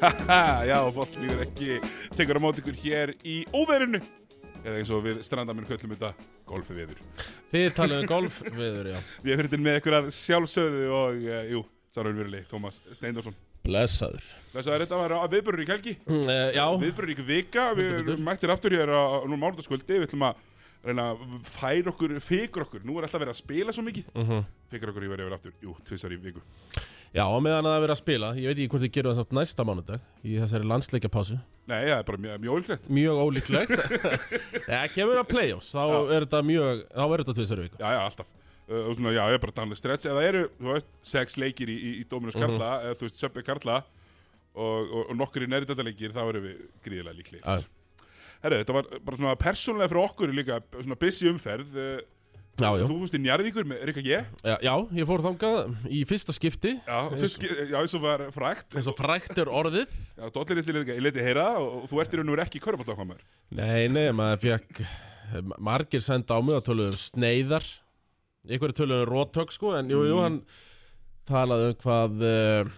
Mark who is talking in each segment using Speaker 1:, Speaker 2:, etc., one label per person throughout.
Speaker 1: Haha, Já, fólk lífið ekki tekur á móti ykkur hér í óverinu eða eins og við strandaminn köllum þetta golfið viður.
Speaker 2: Þið talaðu um golf viður, já.
Speaker 1: Við erum fyrir með ykkur að sjálfsögðu og, uh, jú, sáraun virulegi, Tómas Steindorsson.
Speaker 2: Blessaður.
Speaker 1: Þess að þetta var að viðbörur í kælgi,
Speaker 2: Mm, eh, já,
Speaker 1: viðbörur í vika, við
Speaker 2: Heldur betur.
Speaker 1: erum mættir aftur hér á nú mánudagskvöldi, við ætlum að reyna að færa okkur, fikra okkur, nú er alltaf verið að spila svo mikið,
Speaker 2: Mhm.
Speaker 1: fikra okkur yfir yfir aftur, jú, tvisar í viku.
Speaker 2: já, á meðan það er verið að spila. Ég veit ekki hvort þið gerum það samt næsta mánudag í þessari landsleikjapásu.
Speaker 1: Nei, það er bara mjög, mjög ólíklegt.
Speaker 2: Mjög ólíklegt. Það kemur að play-offs, þá
Speaker 1: Já.
Speaker 2: er þetta mjög, þá er þetta tvisar viku.
Speaker 1: Já, já, alltaf uh, og svona, Já, ég er bara dánlega stress Eða eru, þú veist, sex leikir í, í, í
Speaker 2: Mhm.
Speaker 1: Dominus Karla Eða þú veist, Söpbi Karla Og, og, og nokkur í næri leikir Þá erum við gríðilega líkli
Speaker 2: Já.
Speaker 1: Herru, þetta var bara svona persónlega fyrir okkur líka Svona busy umferð uh,
Speaker 2: Já, já.
Speaker 1: Þú fórst í Njarðvíkur með Rikka G
Speaker 2: já, já, ég fór þangað í fyrsta skipti,
Speaker 1: Já, og fyrst, já, eins og var frægt
Speaker 2: eins og frækt er orðið.
Speaker 1: Já, Dollir litli líka, ég leiti heyra Og, og þú ert í raun og verið ekki í körfaldakvæmur
Speaker 2: Nei, nei, maður fekk margir senda á mig að töluðu um sneiðar ykkur er töluðu um róttök sko en jú,
Speaker 1: Mm.
Speaker 2: jú, hann talaði um hvað uh,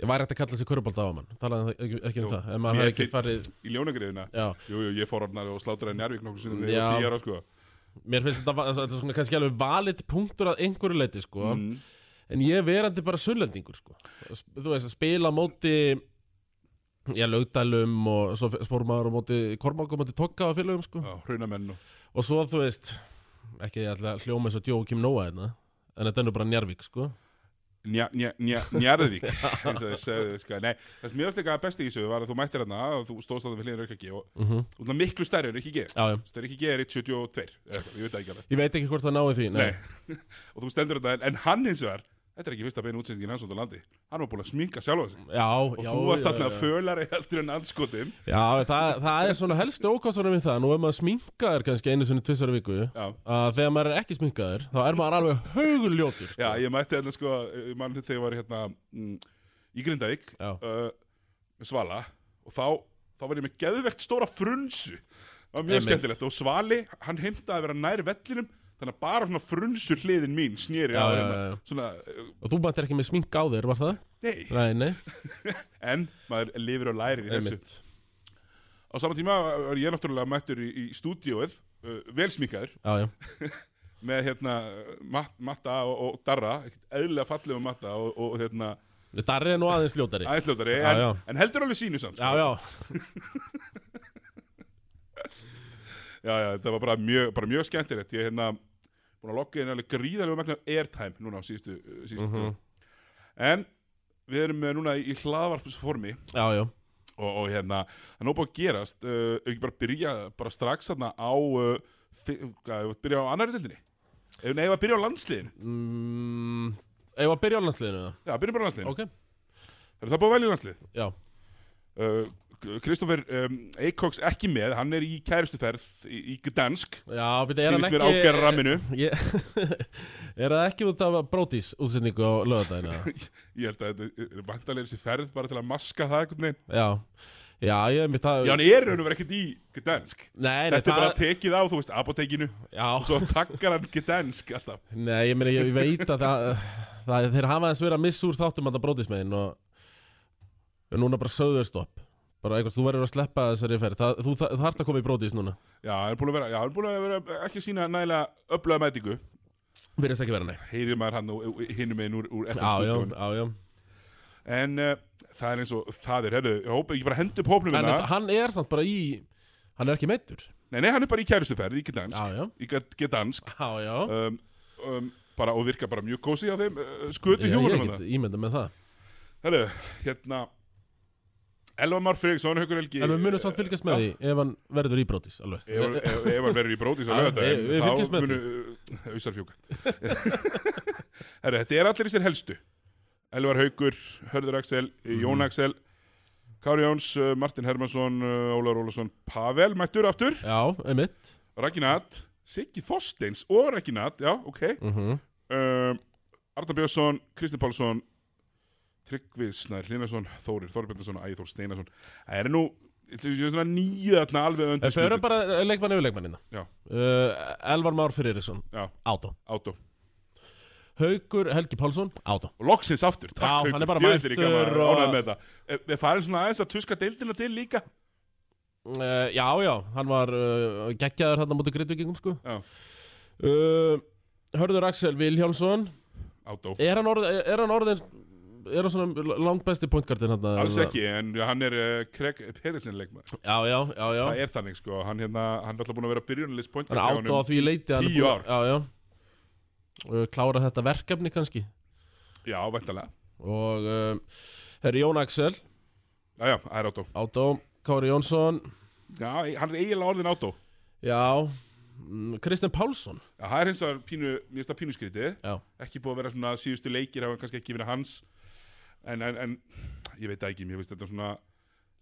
Speaker 2: ég væri hægt að kalla sig körubálda á mann talaði hann ekki, ekki um
Speaker 1: Jú,
Speaker 2: það en maður
Speaker 1: mér
Speaker 2: hefði ekki
Speaker 1: finn-
Speaker 2: farið
Speaker 1: Í ljónagriðina
Speaker 2: já,
Speaker 1: Jú, jú, ég fór orðnar og slátraði Njarðvík nokkur sinni Þegar ég
Speaker 2: Já.
Speaker 1: var tíjar á, sko
Speaker 2: mér finnst þetta, va- þetta er svona kannski alveg valid punktur að einhverju leiti sko
Speaker 1: mm.
Speaker 2: en ég verandi bara sullendingur sko Sp- þú veist að spila á móti já, lögdælum og svo f- spór maður á móti kormákum á móti tokka á félögum sko
Speaker 1: Já, hraunamenn og
Speaker 2: Og svo þú veist Ekki alltaf hljóma eins og Jókim Nóa hérna En þetta er nú bara Njarvík sko
Speaker 1: Nja- nja- nja- Njarðvík eins og þeir sögðu sko. Nei, það sem ég veist líka besti í þessu var að þú mættir hana og þú stóðst að það við hliðin Rikki G og
Speaker 2: mm
Speaker 1: þú er miklu stærri en Rikki G
Speaker 2: Já, já
Speaker 1: Þessi Rikki G er 172 eða eitthvað, ég veit það ekki alveg
Speaker 2: Ég veit ekki hvort það náði því Nei,
Speaker 1: Nei. og þú stendur þetta en, en hann hins vegar þetta er ekki fyrsta beina útsendingin hans út á landi hann var búin að sminka sjálfa sig
Speaker 2: Já,
Speaker 1: og
Speaker 2: já
Speaker 1: þú varst
Speaker 2: já,
Speaker 1: þarna
Speaker 2: já.
Speaker 1: fölari heldur en anskotin
Speaker 2: Já, það, það er svona helstu ókostunum við það Nú ef maður sminkaður kannski einu sinni tvisar viku
Speaker 1: Já.
Speaker 2: að Þegar maður er ekki sminkaður Þá er maður alveg hauguljótur sko.
Speaker 1: Já, ég mætti hérna sko, ég mann þegar ég var hérna mm, í Grindavík
Speaker 2: Já.
Speaker 1: uh, Svala og þá, þá var ég með geðvegt stóra frunsu það var mjög
Speaker 2: Einmitt.
Speaker 1: skemmtilegt og Svali, hann heimtaði að vera nær vellinum þannig að bara svona frunsur hliðin mín snýri
Speaker 2: Já,
Speaker 1: á
Speaker 2: já,
Speaker 1: hérna
Speaker 2: já, já.
Speaker 1: svona, uh,
Speaker 2: Og þú bættir ekki með sminka á þér, var það?
Speaker 1: nei,
Speaker 2: Nei, nei
Speaker 1: en maður lifir og lærir í þessu
Speaker 2: einmitt.
Speaker 1: á sama tíma var ég náttúrulega mættur í, í stúdíóið uh, velsmíkaður
Speaker 2: Já, já
Speaker 1: með hérna mat, Matta og, og Darra ekkert eðlilega fallegum Matta og, og hérna
Speaker 2: Þetta er nú aðeins ljótari
Speaker 1: aðeinsljótari
Speaker 2: Já,
Speaker 1: en,
Speaker 2: já.
Speaker 1: en heldur alveg sínu samt sko.
Speaker 2: Já, já
Speaker 1: já, já, þetta var bara mjög, bara mjög skemmtilegt Ég er hérna búin að logga inn alveg gríðarlega magna airtime núna á síðustu, uh, síðustu mm
Speaker 2: Mhm.
Speaker 1: En við erum með núna í, í hlaðvarpsformi
Speaker 2: Já, já
Speaker 1: og, og hérna, það er nóg búin að gerast uh, ef ekki bara byrja bara strax þarna á uh, þi- hvað, ef við byrja á annari dildinni Ef neyfa að byrja á landsliðinu
Speaker 2: mm, Eða að byrja á landsliðinu það?
Speaker 1: Já, byrjum bara á landsliðinu
Speaker 2: Ok,
Speaker 1: Það er búin að velja landslið
Speaker 2: já
Speaker 1: uh, Kristoffer um, Eikoks ekki með, hann er í kærustuferð í, í Gdansk
Speaker 2: Já, býta, er hann
Speaker 1: Sýnist mér
Speaker 2: ekki
Speaker 1: ágerra ramminu
Speaker 2: Ég- Er það ekki út af Brótis útsendingu á lögadagina?
Speaker 1: Ég held að þetta eh, er vantarlega þessi ferð bara til að maska það einhvern veginn.
Speaker 2: Já Já, ég er mér það
Speaker 1: Já, hann er raun og verið ekkert í Gdansk.
Speaker 2: Nei, nei,
Speaker 1: Þetta er bara
Speaker 2: það
Speaker 1: tekið á, þú veist, apotekinu og
Speaker 2: Já,
Speaker 1: svo takkar hann Gdansk alltaf.
Speaker 2: nei, ég meina, ég veit að það, það Þeir hafa eins verið að missa úr þáttum að það Brótis megin og og núna bara söðurstopp Bara eitthvað, þú verður að sleppa þessari ferð það, Þú þar- þarft að koma í Brótis núna
Speaker 1: Já, hann er búin að vera, já, hann er búin að vera ekki sína nægilega öflaða mætingu.
Speaker 2: Virðist ekki vera, nei
Speaker 1: Heyrir maður hann og- og hinum einn úr, úr
Speaker 2: Já, já,
Speaker 1: FN-stúdíónu.
Speaker 2: já, já
Speaker 1: En uh, það er eins og það er, herru, ég hópa ekki bara hendur pópnum
Speaker 2: En
Speaker 1: hérna.
Speaker 2: hann er samt bara í Hann er ekki meittur
Speaker 1: Nei, nei, hann er bara í kærustuferð í Gdansk.
Speaker 2: Já, já,
Speaker 1: Í Gd- Gdansk.
Speaker 2: já, já
Speaker 1: Um, um, bara, og virka bara mjög kósi á þeim uh, skutu
Speaker 2: Ég, ég
Speaker 1: hjúmanum hann
Speaker 2: get ímyndað með það
Speaker 1: Herru, hérna Elvar Már Fredriksson, Haukur Helgi
Speaker 2: En við munum samt fylgjast með því ef hann verður íbrótis alveg
Speaker 1: Ef hann- ef- ef hann verður í brótis á
Speaker 2: Já, við-
Speaker 1: lögadaginn
Speaker 2: við fylgjumst
Speaker 1: þá
Speaker 2: með
Speaker 1: munu uh, ausar fjúka Herru, þetta er allir í sér helstu Elvar Haukur, Hörður Axel,
Speaker 2: Mhm.
Speaker 1: Jón Axel Kári Jóns, uh, Martin Hermansson uh, Ólar Ólason, Pavel mættur aftur,
Speaker 2: Já, einmitt
Speaker 1: Ragnat Siggi Þorsteins og Ragnat Já, ok
Speaker 2: mm
Speaker 1: um, Arnar Björnsson, Kristinn Pálsson Tryggvi Snær Hlinarsson Þórir Þorbjörnsson, Ægir Þór Steinarsson Það er nú ég sé svona nýja þarna alveg
Speaker 2: En
Speaker 1: undir
Speaker 2: þau eru bara eh, leikmann yfir leikmannina
Speaker 1: Já.
Speaker 2: uh, Elvar Már Fyririsson
Speaker 1: Já,
Speaker 2: Átó
Speaker 1: átó
Speaker 2: Haukur Helgi Pálsson, átta
Speaker 1: og loksins aftur, takk
Speaker 2: Já,
Speaker 1: Haukur,
Speaker 2: hann er bara
Speaker 1: djöfull ég
Speaker 2: mættur
Speaker 1: gaman
Speaker 2: og-
Speaker 1: ánægð með þetta Eh, við farin svona aðeins að tuska deildina til líka
Speaker 2: uh, Já, já, hann var uh, geggjaður hann á móti Grindvíkingum sko
Speaker 1: Já.
Speaker 2: uh, Hörður Axel Vilhjálmsson
Speaker 1: átó,
Speaker 2: Er hann orðin, er hann, orðin, er hann svona langbæsti pointgardin hann?
Speaker 1: alls ekki en hann er uh, Craig Pedersen leikmaður
Speaker 2: Já, já, já, já
Speaker 1: það er þannig sko, hann, hérna, hann er alltaf búin að vera byrjunalist point
Speaker 2: Hann er
Speaker 1: guard hjá
Speaker 2: átta á
Speaker 1: honum.
Speaker 2: því leiti hann er
Speaker 1: Tíu
Speaker 2: búinn-
Speaker 1: ár.
Speaker 2: Já, já Uh, Klára þetta verkefni kannski
Speaker 1: já, væntalega,
Speaker 2: Og uh, herri Jón Axel
Speaker 1: já, já, það er átó
Speaker 2: Átó, Kári Jónsson
Speaker 1: já, e- hann er eiginlega orðin átó
Speaker 2: Já mm, Kristinn Pálsson
Speaker 1: Já, það er hins vegar pínu, mér finnst það pínu skrítið
Speaker 2: Já.
Speaker 1: ekki búið að vera svona síðustu leikir hafa kannski ekki verið hans en, en, en ég veit það ekki, mér finnst þetta svona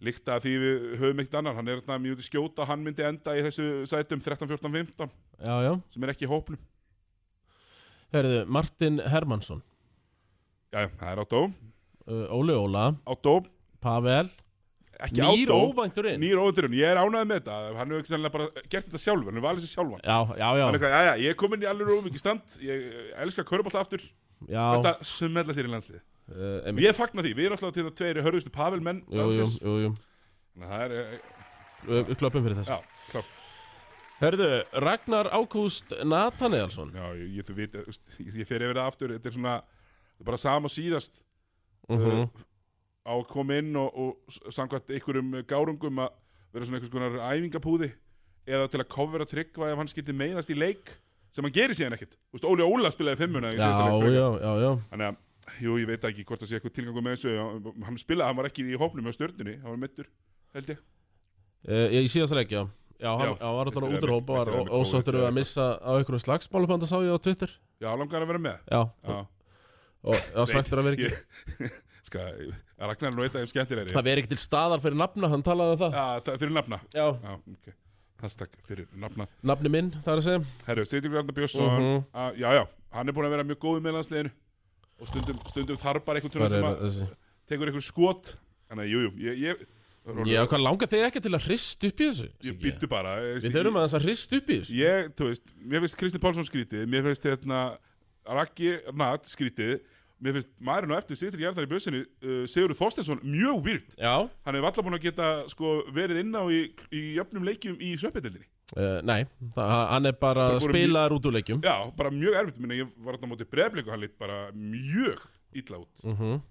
Speaker 1: líkta að því við höfum ekkert annar hann er þarna mjög til skjóta, hann myndi enda í þessu sætum 13, 14, 15
Speaker 2: Já, já
Speaker 1: sem er ekki í hópnum
Speaker 2: Herðu, Martin Hermansson
Speaker 1: já, já, það er átó,
Speaker 2: uh, Óli Óla
Speaker 1: átó,
Speaker 2: Pavel
Speaker 1: ekki
Speaker 2: Nýr
Speaker 1: átó
Speaker 2: óvænturinn
Speaker 1: nýr óvendurinn, ég er ánægð með þetta hann hefur ekki sannlega bara gert þetta sjálfur, hann hefur valið sér sjálfan
Speaker 2: Já, já,
Speaker 1: hann er
Speaker 2: já,
Speaker 1: eitthvað, já, já, ég er komin í alveg ómikið stand ég eh, elska körbólta aftur
Speaker 2: já
Speaker 1: best að sumella sér í landslið
Speaker 2: uh, einmitt.
Speaker 1: ég fagna því, við erum alltaf til það tveiri hörðustu pavilmenn
Speaker 2: Jú, jú,
Speaker 1: landsins
Speaker 2: jú, jú
Speaker 1: Þannig að það er, eh,
Speaker 2: Uh, Við klöppum fyrir þessu
Speaker 1: já, klart
Speaker 2: Herðu, Ragnar Ákúst Nathanielsson
Speaker 1: Já, ég, ég, þú veit, þú veist, ég, ég fer yfir það aftur Þetta er svona, þetta er bara sama og síðast
Speaker 2: uh
Speaker 1: Á að koma inn og, og s- samkvæmt einhverjum eh, gárungum Að vera svona einhvers konar æfingapúði Eða til að kofvera tryggva ef hann skyldi meiðast í leik Sem hann gerir síðan ekkit Þú veist, Óli Óla spilaði fimmuna í
Speaker 2: Já,
Speaker 1: síðasta leik
Speaker 2: já,
Speaker 1: frekar.
Speaker 2: já, já, já
Speaker 1: Þannig að, jú, ég veit ekki hvort það sé eitthvað tilgangu með þessu Já, Hann spilaði, hann var ekki í hópnum á stjörnunni Hann var mittur, held ég
Speaker 2: Uh, ég síðast leik, já Já,
Speaker 1: Já,
Speaker 2: hann hann var alltaf
Speaker 1: þetta er
Speaker 2: út úr
Speaker 1: með-
Speaker 2: hópa og
Speaker 1: þetta er
Speaker 2: var
Speaker 1: með
Speaker 2: ósáttur
Speaker 1: COVID
Speaker 2: við
Speaker 1: eða
Speaker 2: að missa á einhverjum slagsmálubanda sá ég á Twitter
Speaker 1: Já, langar að vera með
Speaker 2: Já,
Speaker 1: Já,
Speaker 2: og það var svegtur að vera ekki
Speaker 1: ég- Ska, Ragnar er nú eitt af þeim skemmtilegri
Speaker 2: Það veri ekki til staðar fyrir nafna, hann talaði um það
Speaker 1: Já, það- fyrir nafna
Speaker 2: Já,
Speaker 1: Já, ok Hashtag fyrir nafna
Speaker 2: nafni minn, það er að segja
Speaker 1: Herru, Steindjur Granda Björnsson uh
Speaker 2: Mhm.
Speaker 1: Já, já, hann er búin að vera mjög góð með landsliðinu Og stundum, stundum þarpar eitthvað svona
Speaker 2: Hvar
Speaker 1: sem
Speaker 2: er
Speaker 1: að
Speaker 2: þessi?
Speaker 1: Tekur eitthvað skot Þannig að, jú, jú, ég, ég Rólegur,
Speaker 2: Já, hvað langar þig ekki til að hrist upp í þessu?
Speaker 1: Ég
Speaker 2: Siggi?
Speaker 1: býttu bara ég,
Speaker 2: Við þurfum aðeins að hrist upp í þessu
Speaker 1: Ég, þú veist, mér finnst Kristi Pálsson skrítið Mér finnst hérna Raggi Nat skrítið Mér finnst maðurinn á eftir Sittur Jarnar í Björsinu uh, Sigurður Þorstensson mjög výrt
Speaker 2: Já,
Speaker 1: Hann hefur alltaf búin að geta sko, verið inn á í, í jöfnum leikjum í söpindildinni
Speaker 2: Uh, nei, það, hann er bara
Speaker 1: Það voru
Speaker 2: spilaður út úr leikjum
Speaker 1: Já, bara mjög erfitt, minna ég var þarna á móti breyflik og hann lít bara mjög illa út
Speaker 2: uh
Speaker 1: uh,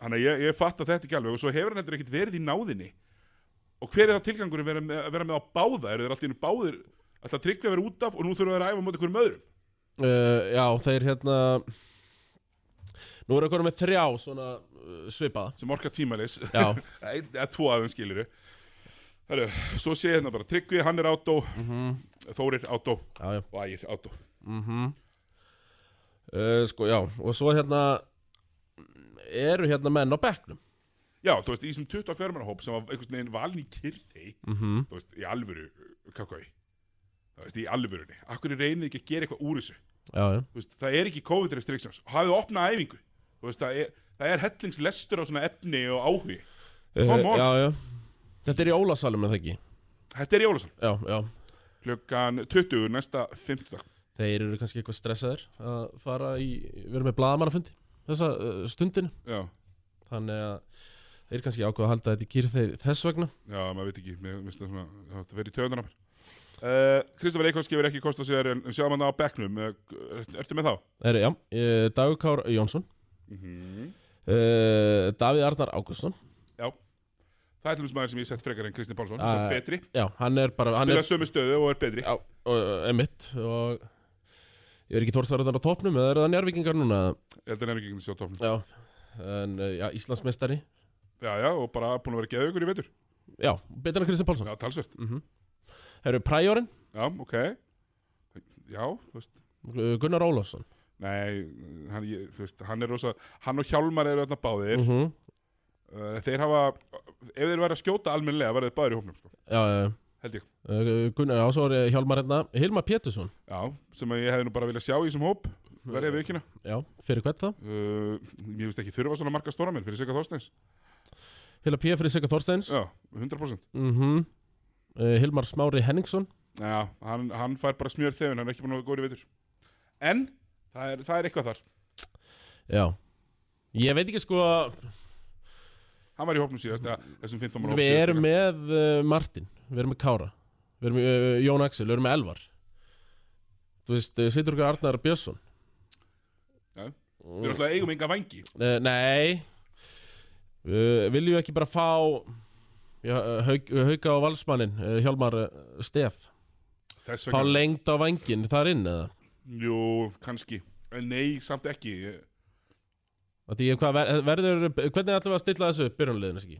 Speaker 1: Þannig að ég, ég fatt að þetta ekki alveg og svo hefur hann heldur ekkert verið í náðinni Og hver er það tilgangur að vera með, að vera með á báða? Eru þeir alltaf einu báðir alltaf tryggvi að vera út af og nú þurfa þeir að æfa á móti hverjum öðrum?
Speaker 2: uh, Já, þeir hérna Nú eru eitthvað með þrjá svona uh, svipaða
Speaker 1: Sem orka tímalis,
Speaker 2: Já,
Speaker 1: eða tvo af þeim skilur Hæru, svo sé ég hérna bara Tryggvi, hann er átó, Mhm. Þórir átó
Speaker 2: já, já
Speaker 1: og Ægir átó
Speaker 2: uh, Sko, já, og svo hérna Eru hérna menn á bekknum
Speaker 1: Já, þú veist, í þessum 24 manna hóp sem var einhvern veginn valin í kyrtei
Speaker 2: Mhm.
Speaker 1: þú veist, í alvöru, kakói þú veist, í alvörunni, akkur reynið ekki að gera eitthvað úr þessu,
Speaker 2: Já, já,
Speaker 1: þú veist, það er ekki COVID restrictions, hafið opnað æfingu þú veist, það er, það er hellingslestur á svona efni og áhugi, Come on.
Speaker 2: Eh, já, já. Þetta er í Ólasalum en það ekki
Speaker 1: þetta er í Ólasan
Speaker 2: Já, já
Speaker 1: klukkan 20 næsta 15
Speaker 2: Þeir eru kannski eitthvað stressaðir að fara í Við erum með blaðamannafundi Þessa uh, stundinu
Speaker 1: já,
Speaker 2: Þannig að þeir kannski ákveða að halda þetta í kýr þeir þess vegna
Speaker 1: já, maður veit ekki mér finnst það svona, það verið í töðunar uh, Kristoffer Eikons gefur ekki kost á sér en, en sjáum hann á bekknum, uh, ertu með þá?
Speaker 2: Er, já, eh, Dagur Kár Jónsson
Speaker 1: Mm
Speaker 2: uh, Davíð Arnar Ágústsson
Speaker 1: Það er til þess maður sem ég sett frekar en Kristinn Pálsson
Speaker 2: Ah,
Speaker 1: sem er betri,
Speaker 2: Já, hann er bara hann
Speaker 1: spilaði
Speaker 2: er,
Speaker 1: sömu stöðu og er betri
Speaker 2: já, og, emitt og ég er ekki þórt þar á topnum eða eru það njárvikingar núna
Speaker 1: Ég held að hann er ekki ekki sjá topnum
Speaker 2: Já, en, eh, já Íslandsmeistari
Speaker 1: Já, já, og bara búin að vera geðaukur í vetur
Speaker 2: Já, betur en Kristján Pálsson
Speaker 1: Já, talsvert
Speaker 2: mm Herru Præjórin,
Speaker 1: Já, ok Já, þú veist
Speaker 2: Gunnar Ólafsson
Speaker 1: Nei, hann, ég, þú veist, hann er rosa Hann og Hjálmar eru þarna báðir
Speaker 2: mm
Speaker 1: uh, Þeir hafa Ef þeir væri að skjóta almennlega verður þeir báðir í hópnum sko.
Speaker 2: Já, já, já.
Speaker 1: Held ég
Speaker 2: Eh, Gunnar Ásvar Hjálmar hérna Hilma Pétursson
Speaker 1: Já, sem að ég hefði nú bara viljað sjá í þessum hóp Verði við vikina
Speaker 2: Já, fyrir hvert það?
Speaker 1: uh, Ég veist ekki þurfa svona marga stóra minn Fyrir Sveika Þorsteins
Speaker 2: Hila P. fyrir Sigga Þorsteins
Speaker 1: Já, 100%
Speaker 2: mm Hilmar Smári Henningsson
Speaker 1: Já, hann, hann fær bara smjör þefin Hann er ekki búin að vera góður í vetur En það er, það er eitthvað þar
Speaker 2: Já Ég veit ekki sko
Speaker 1: Hann var í hópnum síðast, eða þessum 15 manna hóp
Speaker 2: Við
Speaker 1: síðast
Speaker 2: erum
Speaker 1: líka.
Speaker 2: með uh, Martin Við erum með Kára Við erum með uh, Jón Axel Við erum með Elvar Þú veist, uh, situr okkar Arnar Björnsson
Speaker 1: Já. Við erum alltaf eigum enga vangi
Speaker 2: uh, Nei uh, Viljum við ekki bara fá já, uh, hauk, Hauka á valsmannin uh, Hjálmar uh, Stef
Speaker 1: Þess
Speaker 2: Fá
Speaker 1: vegna,
Speaker 2: lengd á vangin þar inn eða
Speaker 1: jú, kannski En nei, samt ekki Ég-
Speaker 2: Af Því, hvað, ver- verður, hvernig ætlum við að stilla þessu upp byrjunliðin ekki?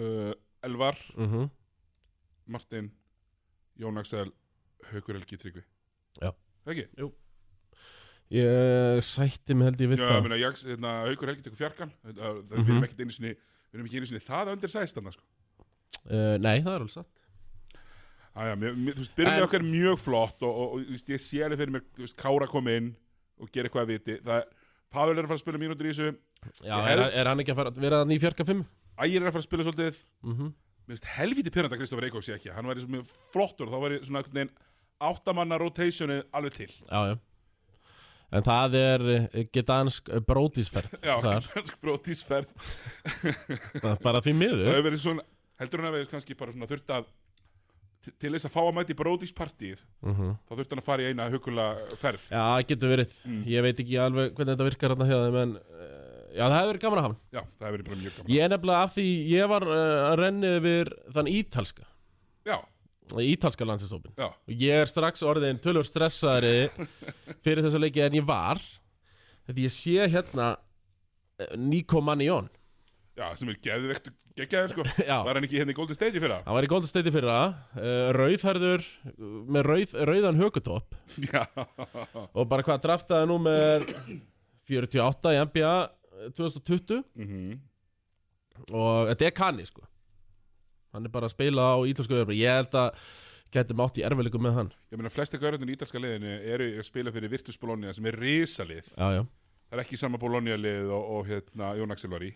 Speaker 1: uh, Elvar,
Speaker 2: Mm -hmm.
Speaker 1: Martin Jón Axel, Haukur Helgi Tryggvi
Speaker 2: Já.
Speaker 1: Ekki?
Speaker 2: Ég sætti mig held ég við
Speaker 1: Já, ég
Speaker 2: það
Speaker 1: meina, Jax- hérna, Haukur Helgi tekur fjarkan Það það-
Speaker 2: Mhm.
Speaker 1: við erum ekkert einu sinni Við erum ekki einu sinni það undir sæstanda sko.
Speaker 2: uh, Nei, það er alveg satt
Speaker 1: Æja, mér, mér, þú veist, byrjunni
Speaker 2: En-
Speaker 1: okkar er mjög flott og, og, og þú veist, ég sé alveg fyrir mér þú veist, Kára kom inn og gera eitthvað að viti það er, Pavel er að fara að spila mínútur í þessu
Speaker 2: Já,
Speaker 1: Ég
Speaker 2: er,
Speaker 1: held-
Speaker 2: er hann ekki að fara að vera þannig í fjörka fimm?
Speaker 1: Ægir er að fara að spila svolítið
Speaker 2: Mm
Speaker 1: Mér finnst helviti pyrranda Kristoffer Eikóks ég ekki Hann væri svo mjög flottur og þá væri svona einhvern veginn áttamanna rotationið alveg til
Speaker 2: Já, já En það er eh, gedansk eh, brótisferð
Speaker 1: Já, sko,
Speaker 2: þar,
Speaker 1: kannski brotisferð
Speaker 2: það er bara því
Speaker 1: Það
Speaker 2: miður
Speaker 1: hefur verið svona Heldur hann að við kannski bara svona þurft að til- Til þess að fá að mæti brotispartíð
Speaker 2: mm
Speaker 1: Þá þurft hann að fara í eina hugulega ferð
Speaker 2: Já, það getur verið
Speaker 1: Mm.
Speaker 2: Ég veit ekki alveg hvernig þetta virkar hérna hjá þeim en uh, já, það hefur verið gaman að hafa hann.
Speaker 1: Já, það hefur verið bara mjög gaman
Speaker 2: Ég er nefnilega af því ég var uh, að renni yfir þann ítalska
Speaker 1: Já,
Speaker 2: ítalska landsinsópin
Speaker 1: já,
Speaker 2: og ég er strax orðin tölur stressaðri fyrir þessa leiki en ég var því ég sé hérna eh, Nico Mannion
Speaker 1: já, sem er geðvegt Geggjaður sko
Speaker 2: Já,
Speaker 1: Var hann ekki hérna í Golden State í fyrra?
Speaker 2: hann var í Golden State í fyrra uh, rauðherður með rauð, rauðan hökutopp
Speaker 1: Já,
Speaker 2: og bara hvað draftaði nú með 48 í NBA 2020
Speaker 1: mhm
Speaker 2: og þetta er kanni sko hann er bara að spila á ítalsku öðru ég held að getum átt í erfileikum með hann
Speaker 1: Ég meina, flesti gaurarnir í ítalska liðinu eru að spila fyrir Virtus Bologna sem er risalið.
Speaker 2: já, já.
Speaker 1: Það er ekki sama Bologna lið og, og hérna, Jón Axel var í.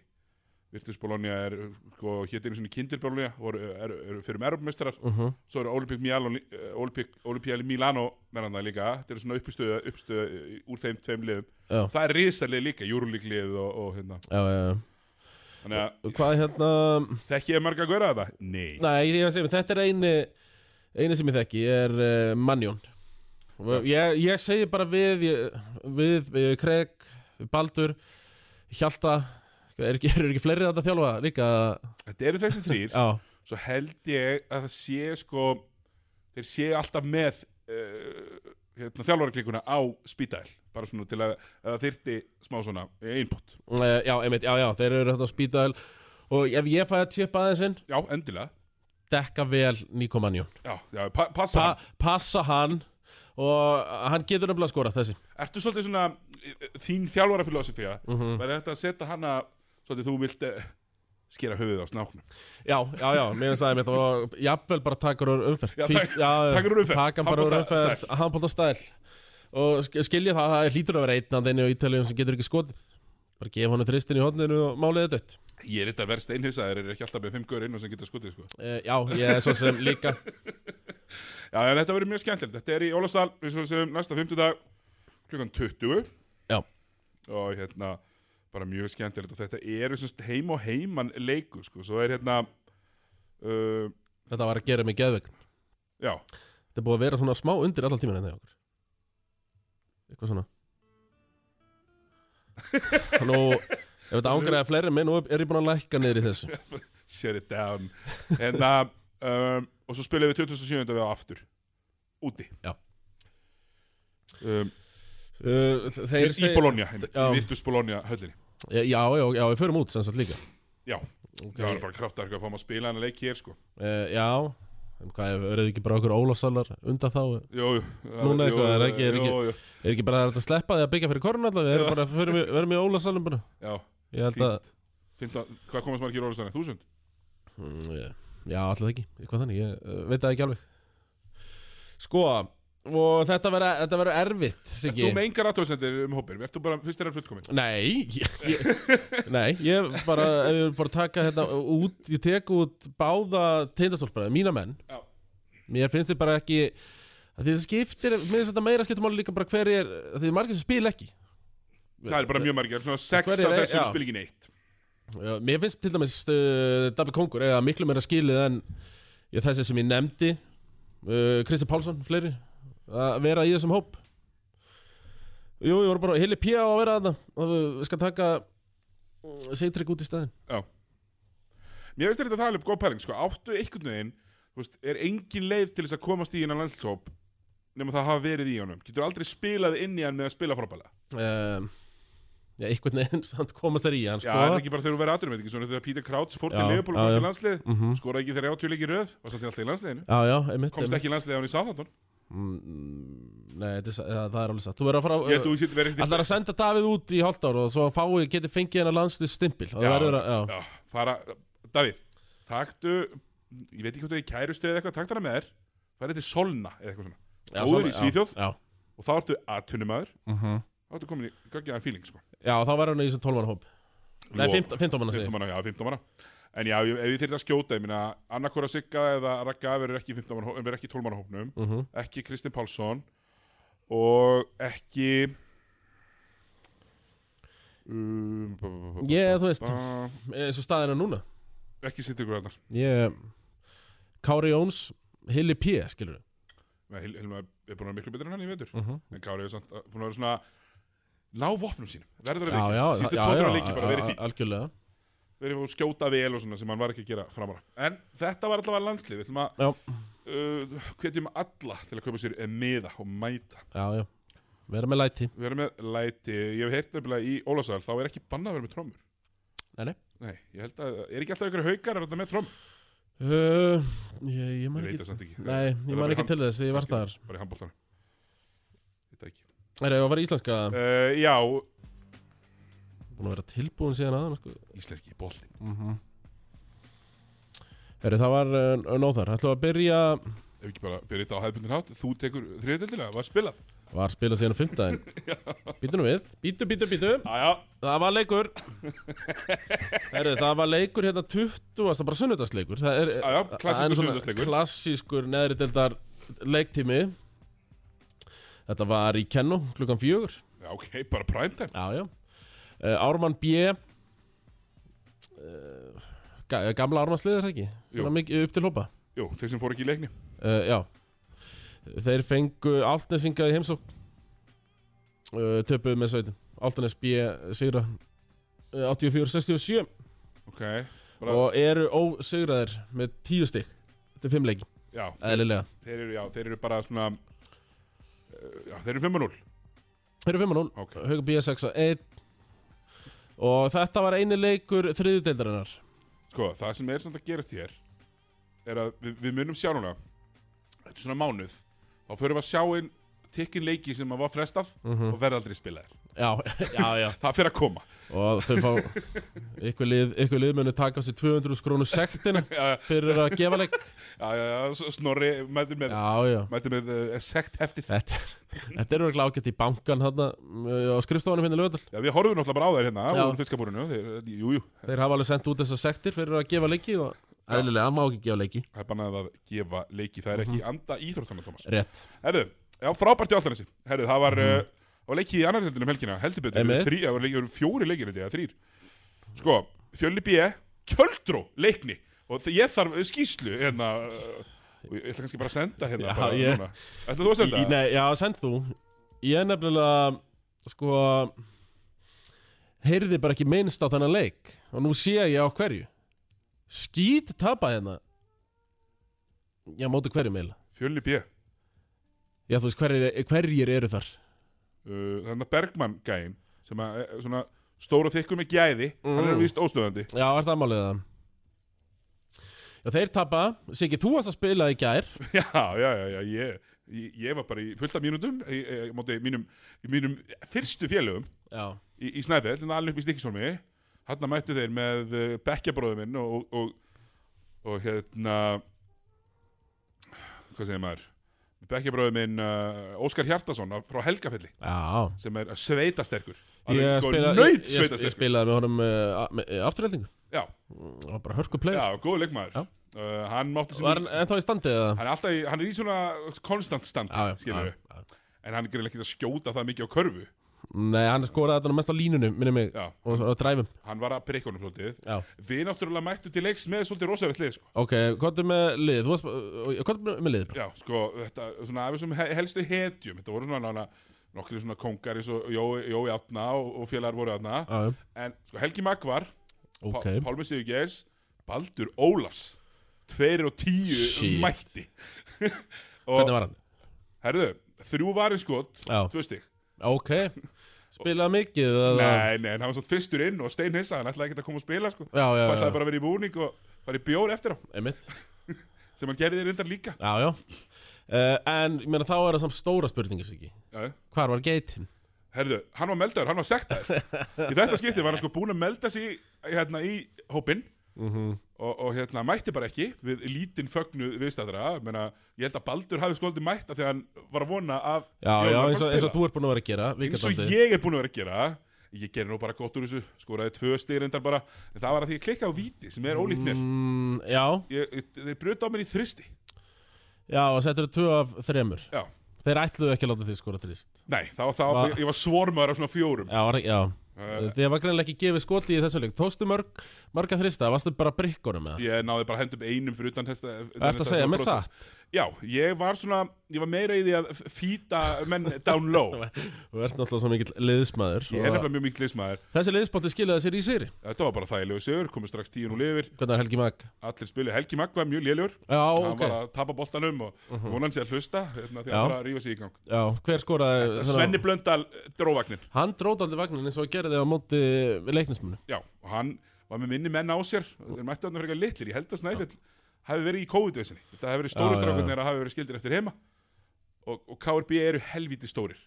Speaker 1: Virtus Bologna er, sko, hétt einu svona Kinder Bologna og eru er, er fyrir um Europamestrar.
Speaker 2: Uh -huh.
Speaker 1: Svo eru Olympic Milano, Olympic, Olympic Milano með hann það líka. Þetta eru svona uppstöðu, uppstöðu eh, úr þeim tveim liðum.
Speaker 2: Já.
Speaker 1: Það er risalið líka, Júrulík lið og, og hérna.
Speaker 2: já, já, já.
Speaker 1: Þannig að
Speaker 2: Og hvað hérna
Speaker 1: þekki ég marga að gauðra þetta? Nei.
Speaker 2: Nei, ég segi, þetta er eini eini sem ég þekki, ég er uh, Manjón Og ég, ég segi bara við ég, við, við Craig, við Baldur Hjalta er ekki, er ekki fleiri þarna að þjálfa líka
Speaker 1: Þetta eru þessi þrýr.
Speaker 2: já,
Speaker 1: Svo held ég að það sé, sko, þeir sé alltaf með uh, hérna, þjálfaraklíkuna á spítæl. Bara svona til að, að það þyrti smá svona eh, einbútt.
Speaker 2: uh, já, einmitt, já, já, þeir eru hérna á spítal og ef ég fæ að tjöpa aðeinsinn
Speaker 1: Já, endilega.
Speaker 2: dekka vel Nico Manjón
Speaker 1: Já, já pa passa.
Speaker 2: pa, passa hann og hann getur nefnilega að skora þessi
Speaker 1: Ertu svolítið svona eh, þín þjálfarafilosofía? Mm -hmm. Verði þetta að setja hana, svolítið þú vilt uh, skera höfuð á snáknum?
Speaker 2: Já, já, já, mér finnst það einmitt og jafnvel bara takur úr umferð
Speaker 1: Já,
Speaker 2: Fí-
Speaker 1: tak-
Speaker 2: já,
Speaker 1: taka úr umferð.
Speaker 2: Taka hann bara úr
Speaker 1: Handbolta
Speaker 2: umferð, handbólta stæl og sk- skilja það, það er hlýtur að vera einn að einu á Ítaljum sem getur ekki skotið bara gefa honum þristin í hodninu og málið er dött
Speaker 1: Ég er þetta að verð steinhisaður, er ekki alltaf með fimm gaur inn og sem geta skotið, sko.
Speaker 2: e, Já, ég er svo sem líka
Speaker 1: Já, en þetta verður mjög skemmtilegt. Þetta er í Ólasal, við svo sem næsta 50 dag, klukkan 20.
Speaker 2: Já.
Speaker 1: Og hérna, bara mjög skemmtilegt og þetta eru sem sagt heim og heiman leiku, sko. Svo er hérna, uh,
Speaker 2: Þetta var að gera mig geðvegn
Speaker 1: já,
Speaker 2: Þetta er búið að vera svona smá undir allan tíman en það okkur Eitthvað svona Nú, ef þetta ángraði fleiri minn og er ég búin að lækka niður í þessu
Speaker 1: set it down. Hérna, um, og svo spilum við 2007. við á aftur. Úti.
Speaker 2: Já.
Speaker 1: Um,
Speaker 2: Uh, Þeir
Speaker 1: í Bologna, einmitt,
Speaker 2: Já.
Speaker 1: í Virtus Bologna höllinni.
Speaker 2: Eh, Já, já, já, við förum út sem sagt líka
Speaker 1: Já,
Speaker 2: Ok.
Speaker 1: það er bara kraftarka að fáum að spila hann að leik hér, sko.
Speaker 2: Uh, já, en hvað ef verður ekki bara okkur ólásalar undan þá
Speaker 1: Jú, jú. jú,
Speaker 2: Núna eitthvað, það er ekki- er
Speaker 1: jú,
Speaker 2: ekki-
Speaker 1: jú,
Speaker 2: Er ekki bara hægt að sleppa því að byggja fyrir korun allavega Við erum bara, förum í- verum í ólásalum bara
Speaker 1: Já,
Speaker 2: Ég held að,
Speaker 1: 15, hvað komast margir orðastæðan? 1000?
Speaker 2: mm, ég- já, alltaf ekki Eitthvað þannig, ég uh, veit það ekki alveg Sko, og þetta verður þetta verður erfitt,
Speaker 1: Ert þú
Speaker 2: Siggi
Speaker 1: með engar aðtöðsendir um hópir? Ert þú bara fyrst þeirra fullkomin?
Speaker 2: Nei, ég, ég, nei, ég bara, ef ég vil bara taka þetta út, ég tek út báða tindastólparaði, mína menn
Speaker 1: Já.
Speaker 2: Mér finnst þið bara ekki Af Því það skiptir, mér finnst þetta meira skiptum máli líka bara hver er, af því margir sem spila ekki
Speaker 1: það er bara mjög margir, svona sex
Speaker 2: Hverjir
Speaker 1: af
Speaker 2: er-
Speaker 1: þessum
Speaker 2: já.
Speaker 1: spil ekki neitt
Speaker 2: Já, mér finnst til dæmis uh, Dabbi Kongur eða miklu meira skilið en já, þessi sem ég nefndi uh, Kristi Pálsson, fleiri að vera í þessum hóp Jú, ég voru bara Hilli Pía á að vera þarna og við við skal taka Seitrygg út í staðin
Speaker 1: Mér finnst þetta að tala upp góð pæling, sko, áttu einhvern veginn, þú veist, er engin leið til þess að komast í hennar landslóp nema það hafa verið í honum. Getur aldrei spilað inn í hann með að spila frábælega.
Speaker 2: um, Já, einhvern veginn samt komast þær í hann
Speaker 1: Já,
Speaker 2: sko.
Speaker 1: það er ekki bara þegar þú verið aðdurum, eitthvað svona þegar Peter Krauts fór til
Speaker 2: Já,
Speaker 1: Leopold
Speaker 2: já,
Speaker 1: og komst
Speaker 2: já.
Speaker 1: í landslið,
Speaker 2: mm
Speaker 1: skoraði ekki þegar átjuleiki röð, var samt í alltaf í landsliðinu.
Speaker 2: Já, já, einmitt
Speaker 1: Komst
Speaker 2: einmitt.
Speaker 1: ekki í landsliðið hann í Southampton.
Speaker 2: Mm, Nei, þetta er, sa- það, það er alveg satt Þú verður að fara
Speaker 1: Ég held þú sétt verið
Speaker 2: Allar að senda Davíð út í hálft ára og svo hann fái, geti fengið hennar landslið stimpil og
Speaker 1: Já,
Speaker 2: það verður að, já,
Speaker 1: Já, fara, Davíð, taktu, ég veit ekki hvað þú er í kærustu eða eitthvað, taktu hana með þér, farið til Solna eða eitthvað svona.
Speaker 2: já
Speaker 1: Góður í
Speaker 2: svona- já,
Speaker 1: Svíþjóð
Speaker 2: Já,
Speaker 1: og þá ertu atvinnumæður,
Speaker 2: uh
Speaker 1: þá ertu komin í gaggjaðan fíling, sko.
Speaker 2: já þá verður hann í þessum 12 manna hóp Nei,
Speaker 1: Lofa.
Speaker 2: 15 15 manna segir
Speaker 1: 15 manna, já, 15 manna En já, ef ég þyrfti að skjóta, ég minna Annarkora Sigga eða Ragga verður ekki, í 15 manna hó- verður ekki í 12 manna hópnum
Speaker 2: uh
Speaker 1: Ekki Kristinn Pálsson Og ekki um, ba- ba- ba- ba-
Speaker 2: Ég, þú veist,
Speaker 1: ba-
Speaker 2: eins og staðina núna
Speaker 1: Ekki sittur ykkur annar
Speaker 2: Ég, Kári Jóns Hilli P, skilur
Speaker 1: Hilma er búin að vera miklu betur en hann í vetur
Speaker 2: uh
Speaker 1: En Kári er samt að- búin að vera svona Ná vopnum sínum, verður að
Speaker 2: Já, já,
Speaker 1: veikast Sýttu
Speaker 2: já,
Speaker 1: tóttur
Speaker 2: já,
Speaker 1: að leiki bara, verið fín
Speaker 2: al- algjörlega
Speaker 1: Verið að skjóta vel og svona sem hann var ekki að gera framara En þetta var allavega landslið, við ætlum að
Speaker 2: Já,
Speaker 1: uh, hvetjum alla til að kaupa sér meða og mæta.
Speaker 2: já, já Verða með læti
Speaker 1: Við erum með læti, ég hef heyrt nefnilega í Ólafsal, þá er ekki bannað að vera með trommur.
Speaker 2: Nei, nei
Speaker 1: Nei, ég held að, er ekki alltaf ykkur haukar að vera með trommur?
Speaker 2: uh, Ég, ég man
Speaker 1: Ég veit
Speaker 2: ekki
Speaker 1: það samt ekki.
Speaker 2: Nei, ég
Speaker 1: Er
Speaker 2: man
Speaker 1: það
Speaker 2: ekki
Speaker 1: bara
Speaker 2: til þess, ég var
Speaker 1: Kannski.
Speaker 2: þar
Speaker 1: Bara í handbóltanum. Þetta ekki.
Speaker 2: Það er að vera íslenska
Speaker 1: Uh, já,
Speaker 2: Búin að vera tilbúin síðan aðan, sko
Speaker 1: íslenski bólti.
Speaker 2: Herri, það var uh, nóð þar. Ætlum við að byrja,
Speaker 1: Ef ekki bara byrja þetta á hefðbundin hátt, þú tekur þriðdeldina, var spilað.
Speaker 2: var spilað síðan á fimmtæðin. Býtu nú við, býtu, býtu, býtu.
Speaker 1: Aja,
Speaker 2: Það var leikur. Herri, það var leikur hérna 20, það er bara sunnudagsleikur. Það er,
Speaker 1: Ah, Já, já, klassískur
Speaker 2: það er svona
Speaker 1: sunnudagsleikur.
Speaker 2: Klassískur neðri deildar leiktími. Þetta var í Kenno klukkan fjögur.
Speaker 1: já, ok, bara primetime.
Speaker 2: Já, já. Uh, Ármann B. Uh, ga- eh, gamla Ármannsliðir, það ekki?
Speaker 1: Jú.
Speaker 2: Svona mikið upp til hópa.
Speaker 1: Jú, þeir sem fóru ekki í leikni.
Speaker 2: uh, Já Þeir fengu Altnesinga í heimsók uh, Töpuðu með sveitum Altnes B sigra uh, 84-67
Speaker 1: Ok, bara,
Speaker 2: Og eru ósigraðir með 10 stygg Þetta er 5 leiki,
Speaker 1: já, þeir,
Speaker 2: eðlilega
Speaker 1: þeir, eru, já, þeir eru bara svona, uh, já, þeir eru 5-0.
Speaker 2: Þeir eru 5-0
Speaker 1: Ok,
Speaker 2: Hauka B 6-1 Og þetta var eini leikur þriðudeildarinnar
Speaker 1: Sko, það sem er samt að gerast hér er að við, við munum sjá núna eftir svona mánuð þá förum við að sjá inn tikkin leiki sem að var frestað
Speaker 2: Mhm.
Speaker 1: og verða aldrei spilaðir
Speaker 2: Já, já, já
Speaker 1: Það fer að koma
Speaker 2: Og þau fá Ykkur lið, ykkur lið munu taka á sig 200 krónu sektina
Speaker 1: Já,
Speaker 2: Fyrir að gefa leik
Speaker 1: já, já, já, s- Snorri mætti með,
Speaker 2: Já, já
Speaker 1: mætti með uh, sekt heftið
Speaker 2: Þetta, þetta er örgulega ágætt í bankan hérna, á skrifstofanum hérna í Laugardal.
Speaker 1: Já, við horfum náttúrulega bara á þær hérna
Speaker 2: Já.
Speaker 1: úr fiskabúrinu þeir, Jú, jú,
Speaker 2: Þeir hafa alveg sendt út þessar sektir fyrir að gefa leiki og eðlilega, hann má ekki gefa leiki.
Speaker 1: það er bannað að gefa leiki það er ekki
Speaker 2: Mhm.
Speaker 1: anda íþróttana, Thomas
Speaker 2: Rétt.
Speaker 1: Herðu, já, frábært í alltaf Herðu, það var, mm. uh, það var leiki í annar heldinu um helgina heldur betur, það
Speaker 2: Mhm. Einmitt.
Speaker 1: voru þrí- það voru leiki- það voru fjóri leikir held ég, eða þrýr Sko, Fjölni B, Kjöldró leikni og þ- ég þarf skýslu hérna uh, og ég ætla kannski bara að senda hérna
Speaker 2: Já,
Speaker 1: bara
Speaker 2: ég-
Speaker 1: núna Ætla þú að
Speaker 2: Í,
Speaker 1: senda?
Speaker 2: í- nei, já, send þú. Ég nefnilega, sko, heyrði bara ekki minnst á þennan leik og nú sé ég á hverju. Skít tapa hérna. Já, móti hverju meila.
Speaker 1: Fjölni B, uh,
Speaker 2: Já, þú veist, hverjir, hverjir eru þar?
Speaker 1: þannig að Bergmann gæin sem að, eh, svona stóra þykkur með gæði hann er
Speaker 2: Mm.
Speaker 1: víst óstöðandi
Speaker 2: Já, er það málið það? Já, þeir tapa. Siggi, þú varst að spila í gær.
Speaker 1: Já, já, já, já, ég Ég ég var bara í fullta mínútum í, í, í, móti mínum, í mínum fyrstu félögum
Speaker 2: Já.
Speaker 1: í, í Snæfell, en alveg upp í Stikksólmi hann mættu þeir með uh, bekkjabróðu minn og, og, og, og hérna hvað segir maður bekkjabröðu minn uh, Óskar Hjartason af- frá Helgafelli
Speaker 2: Já
Speaker 1: sem er sveitasterkur hann
Speaker 2: Ég,
Speaker 1: er sko
Speaker 2: spila, ég,
Speaker 1: nöyt
Speaker 2: ég, ég
Speaker 1: sveitasterkur
Speaker 2: spilaði með honum uh, afturhældingu
Speaker 1: já,
Speaker 2: Það var bara hörku play
Speaker 1: já, góðu leikmaður
Speaker 2: Já.
Speaker 1: uh, hann mátti sem
Speaker 2: Var hann ennþá í standið eða?
Speaker 1: hann er alltaf í, hann er í svona konstant stand
Speaker 2: Já, já,
Speaker 1: skilur við,
Speaker 2: já, já.
Speaker 1: en hann er greið ekki að skjóta það mikið á körfu
Speaker 2: Nei, hann skoraði þetta nú mest á línunni, minni mig
Speaker 1: já,
Speaker 2: Og svo á dræfum
Speaker 1: hann var að prikka honum svolítið
Speaker 2: Já,
Speaker 1: við náttúrulega mættum til leiks með svolítið rosalegt lið sko.
Speaker 2: ok, hvað er með lið? Þú varst, uh, hvað er með lið? bara?
Speaker 1: já, sko, þetta, svona af þessum he- helstu hetjum þetta voru svona nána, nokkri svona kongar eins og Jói, Jói Átna og, og félagar voru Átna
Speaker 2: Já, já,
Speaker 1: en sko, Helgi Magvar
Speaker 2: ok
Speaker 1: okay. Pálmi Sigurgeirs, Baldur Ólafs tveir og tíu
Speaker 2: Shit.
Speaker 1: mætti og,
Speaker 2: Hvernig var hann?
Speaker 1: herðu, þrjú varinskot
Speaker 2: Já.
Speaker 1: tvö stig
Speaker 2: Ok, spilaði mikið eða?
Speaker 1: Nei, nei, en hann var svo fyrstur inn og stein hissa, hann ætlaði ekki að koma og spila sko.
Speaker 2: Já, já,
Speaker 1: Það
Speaker 2: já,
Speaker 1: ætlaði bara að vera í búning og fara í bjór eftir á
Speaker 2: einmitt
Speaker 1: sem hann gerði reyndar líka
Speaker 2: Já, já uh, En, ég meina, þá er það samt stóra spurningi, Siggi
Speaker 1: Já, já.
Speaker 2: Hvar var geitin?
Speaker 1: Herðu, hann var meldaður, hann var sektaður Í þetta skipti var hann sko búin að melda sig í, hérna, í hópinn
Speaker 2: Mhm.
Speaker 1: og, og hérna, mætti bara ekki við lítinn fögnuð viðstæðra Menna, Ég held að Baldur hafi sko skoldið mætta þegar hann var að vona að
Speaker 2: Já,
Speaker 1: Jón
Speaker 2: já,
Speaker 1: var að
Speaker 2: eins og,
Speaker 1: fara að
Speaker 2: eins og
Speaker 1: spila.
Speaker 2: þú ert búin að vera að gera
Speaker 1: eins og
Speaker 2: vikardandi.
Speaker 1: ég er búin að vera að gera Ég gerði nú bara gott úr þessu, skoraði tvö stig reyndar bara En það var að því ég klikkaði á víti sem er ólíkt mér
Speaker 2: mm, Já,
Speaker 1: ég, ég, Þeir brötu á mér í þristi
Speaker 2: já, og settur tvö af þremur
Speaker 1: Já,
Speaker 2: Þeir ætluðu ekki að láta þig skora þrýst
Speaker 1: nei, þá, þá,
Speaker 2: Va-
Speaker 1: ég, ég var svormaður af svona fjórum
Speaker 2: Já, var- já
Speaker 1: Uh,
Speaker 2: Þið var greinilega ekki gefið skoti í þessu leik Tókstu mörg, marga þrista, varstu bara brikkunum eða?
Speaker 1: Ég náði bara hendum einum fyrir utan þesta
Speaker 2: Það ert að segja mér satt
Speaker 1: Já, ég var svona, ég var meira í því að f- fýta menn down low
Speaker 2: Þú ert náttúrulega svo mikill liðsmaður
Speaker 1: Ég er
Speaker 2: og
Speaker 1: nefnilega mjög mikið liðsmaður
Speaker 2: Þessi liðsbótti skilaði sér í sýri
Speaker 1: Þetta var bara þægilegu sigur, komið strax tíu nú lifir
Speaker 2: Hvernig er Helgi Mag?
Speaker 1: Allir spilu, Helgi Magg var mjög lélegur
Speaker 2: Já,
Speaker 1: Hann
Speaker 2: ok Mhm.
Speaker 1: var að tapa boltanum og vonan sér að hlusta hérna, Því að
Speaker 2: Já.
Speaker 1: hann var að rífa sig í gang
Speaker 2: Já, hver skoraði
Speaker 1: Svenni
Speaker 2: þennan-
Speaker 1: Blöndal eh, dró vagnin
Speaker 2: Hann dróði aldrei vagnin eins og hann gerði á móti leiknismunum
Speaker 1: Já, og hann var með minni menn á sér Þeir mættu hann frekar litlir, ég held að Snæfell hafi verið í COVID-veisinni Þetta hafi verið
Speaker 2: Já,
Speaker 1: stóri
Speaker 2: já,
Speaker 1: strákunnir að hafi verið skildir eftir heima og, og KRB eru helvíti stórir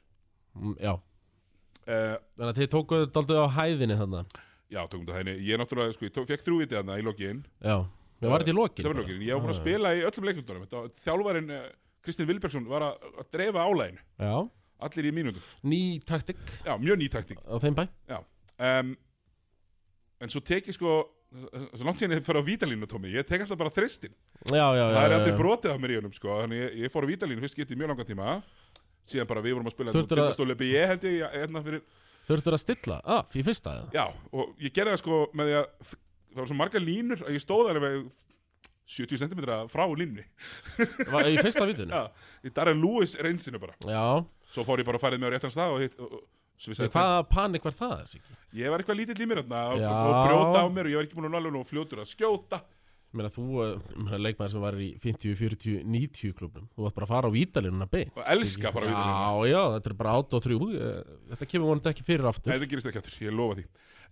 Speaker 2: Mm, Já,
Speaker 1: uh,
Speaker 2: þannig að þið tókuðu þetta aldrei á hæðinni þannig
Speaker 1: Já, tökum þetta henni, ég náttúrulega sko, ég tók, fekk þrjúvitið hann í lokiðin
Speaker 2: Já, við varum þetta í lokin
Speaker 1: Það var lokiðin, ég var búin að spila í öllum leikmyndunum Þetta var- Þjálfarinn uh, Kristinn Vilbergsson var að, að dreifa álæginu
Speaker 2: Já,
Speaker 1: Allir í mínútum,
Speaker 2: ný taktik
Speaker 1: já, mjög ný taktík
Speaker 2: á þeim bæ
Speaker 1: Já um, En svo tek ég sko Svo langt síðan ég fyrir á vítalínu, Tómi Ég tek alltaf bara þristin
Speaker 2: Já, já, já
Speaker 1: Það er
Speaker 2: já,
Speaker 1: aldrei
Speaker 2: já.
Speaker 1: brotið á mér í honum sko Þannig ég, ég fór á vítalínu fyrst getið mjög langan tíma Síðan bara við vorum að spila
Speaker 2: Þurftir að-
Speaker 1: Tindastóli BE held ég hérna fyrir
Speaker 2: Þurftur að stilla, af, í fyrsta eða?
Speaker 1: Já, og ég gerði það sko með því að það var svo margar línur að ég stóð alveg 70 cm frá línni
Speaker 2: Var- Í fyrsta vitinu Já,
Speaker 1: Já, ég darði Lewis reynsinu bara
Speaker 2: já.
Speaker 1: Svo fór ég bara að fara með á réttan stað og hitt og, og, svo vissi að-
Speaker 2: hvaða panik var það, Siggi?
Speaker 1: Ég var eitthvað lítill í mér þarna og,
Speaker 2: Já.
Speaker 1: og, og brjóta á mér og ég var ekki búin að nálega nú fljótur að skjóta
Speaker 2: Ég meina, þú, eh, meina, leikmaður sem var í 50, 40, 90 klubnum Þú vart bara að fara á vítalínuna bein
Speaker 1: og elska bara við það
Speaker 2: Já, já, þetta er bara átt og þrjú eh, Þetta kemur vonandi ekki fyrir aftur
Speaker 1: Þetta gerist ekki aftur, ég lofa því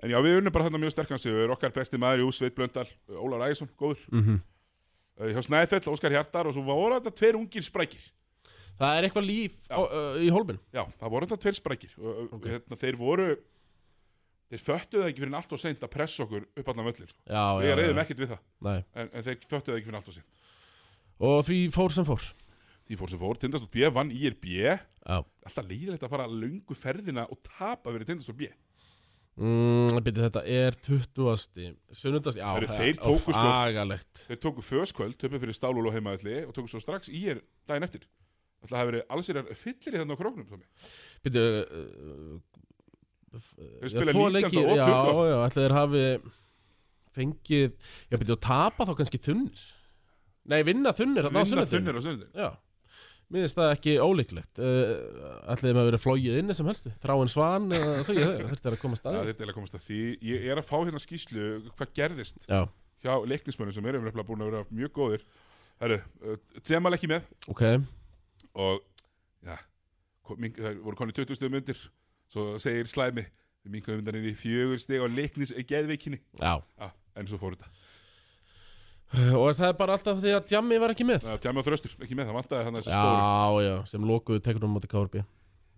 Speaker 1: En já, við unnum bara þarna mjög sterkan sigur Okkar besti maður í Úsveit Blöndal, Ólar Ægisson, góður mm Hjá Snæfell, Óskar Hjartar og svo voru þetta tveir ungir sprækir
Speaker 2: Það er eitthvað líf
Speaker 1: Já.
Speaker 2: á, uh, í hólmin
Speaker 1: Já, það voru þetta tveir sprækir og okay. hérna, þeir voru þeir föttuðu það ekki fyrir allt og seint að pressa okkur upp allan völlin sko.
Speaker 2: Já, já,
Speaker 1: við reyðum
Speaker 2: já.
Speaker 1: ekkert við það
Speaker 2: Nei.
Speaker 1: en, en þeir föttuðu það ekki fyrir allt og seint
Speaker 2: Og því fór sem fór
Speaker 1: því fór sem fór, Tindastótt B vann IRB alltaf
Speaker 2: Já
Speaker 1: leiðilegt að fara löngu ferðina og tapa verið Tindastótt B
Speaker 2: Mm, byrju, þetta er 20. Sunnundast, já
Speaker 1: Heyrðu,
Speaker 2: það-
Speaker 1: þeir tóku
Speaker 2: óf,
Speaker 1: sko-
Speaker 2: Agalegt
Speaker 1: þeir tóku föskvöld, töpu fyrir stálúl og heimaðalli og tóku svo strax IR daginn eftir alltaf hafi verið alls er fyllir í þannig á króknum Tommy.
Speaker 2: Býttu Þeir
Speaker 1: Þeir spila 19. og
Speaker 2: Já,
Speaker 1: 20..
Speaker 2: já, ætla þeir hafi fengið Já, býttu, og tapa þá kannski þunnir Nei, vinna þunnir þarna hérna á
Speaker 1: vinna
Speaker 2: sunnudaginn.
Speaker 1: þunnir á sunnudin
Speaker 2: Já Mér finnst það ekki ólíklegt uh, Ætlaði maður að vera flóið inni sem helstu Þráin Svan, uh, svo ég það Þurfti að
Speaker 1: það
Speaker 2: koma
Speaker 1: er
Speaker 2: staði
Speaker 1: eiginlega að komast að því ég er að fá hérna skýslu hvað gerðist
Speaker 2: Já,
Speaker 1: hjá leiknismönnum sem eru umreflega búin að vera mjög góðir Herru, uh, Tsemal ekki með
Speaker 2: ok
Speaker 1: og já, kom- mink- það voru konið 20 stöðum undir svo segir slæmi við minkum undaninn í fjögur steg á leiknis geðveikinni
Speaker 2: Já
Speaker 1: já, en svo fór þetta
Speaker 2: Og það er bara alltaf því að Djammi var ekki með
Speaker 1: Tjami og Þröstur ekki með, það vantaði þannig að þessi stóri
Speaker 2: Já, já, sem lokuðu tekunum á móti Kárbi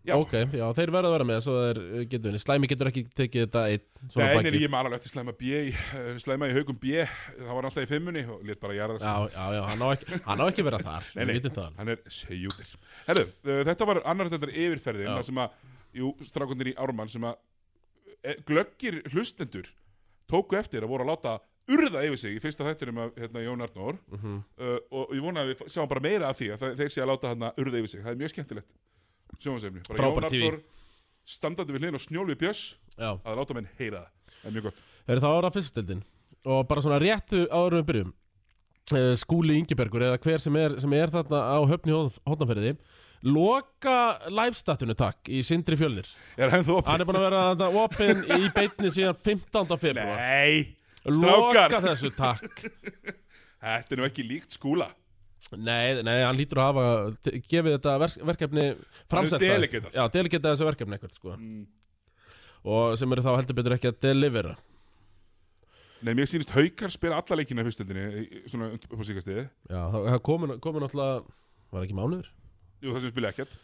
Speaker 1: Já.
Speaker 2: Ok, já, þeir verða að vera með Svo er eh, getur við Slæmi getur ekki tekið þetta einn Svona
Speaker 1: Nei, nei,
Speaker 2: baki
Speaker 1: ég man alveg eftir slæma B í, eh, slæma í haugum B, það var alltaf í fimmunni og lét bara jarða sig.
Speaker 2: Já, já, já, hann á ekki, hann á ekki að vera þar
Speaker 1: Nei, nei,
Speaker 2: Við vitum það alveg.
Speaker 1: hann er segjútir. Herru, eh, þetta var annar þetta yfirferðin,
Speaker 2: Já.
Speaker 1: það sem að, jú, strákundir í Ármann sem að eh, glöggir hlustendur tóku eftir að voru að láta urða yfir sig í fyrsta þættinum af hérna, Jón Arnór
Speaker 2: Mhm.
Speaker 1: uh, og ég vona að við sjáum bara meira af því að það- þeir sé að láta hérna urða yfir sig, það er mjög skemmtilegt sjónvansefni, bara
Speaker 2: Frábær
Speaker 1: Jón
Speaker 2: TV.
Speaker 1: Arnór standandi við hliðin og snjólfi bjöss
Speaker 2: Já,
Speaker 1: að láta menn heyra það, það er mjög gott
Speaker 2: Þeir þá ára fyrstutildin Og bara svona réttu árum við byrjum eh, Skúli Ingebergur eða hver sem er, sem er þarna á höfni hóttanferði Loka livestatunu takk í Sindri Fjölnir
Speaker 1: Er hann þú
Speaker 2: Hann er búin að vera þetta opinn í beitni síðan 15. februar
Speaker 1: Nei,
Speaker 2: Loka
Speaker 1: strákar.
Speaker 2: þessu takk
Speaker 1: þetta er nú ekki líkt skúla
Speaker 2: Nei, nei, hann lítur að hafa t- gefið þetta verk, verkefni framsett
Speaker 1: delegatað.
Speaker 2: Já, delegatað þessu verkefni eitthvað sko.
Speaker 1: Mm.
Speaker 2: Og sem eru þá heldur betur ekki að delivera
Speaker 1: Nei, mér sýnist haukar spila alla leikina í fyrstöldinni Svona upp á síkastiði
Speaker 2: Já, það það komu, komu náttúrulega Var ekki mánuður?
Speaker 1: Jú, það sem spila ekkert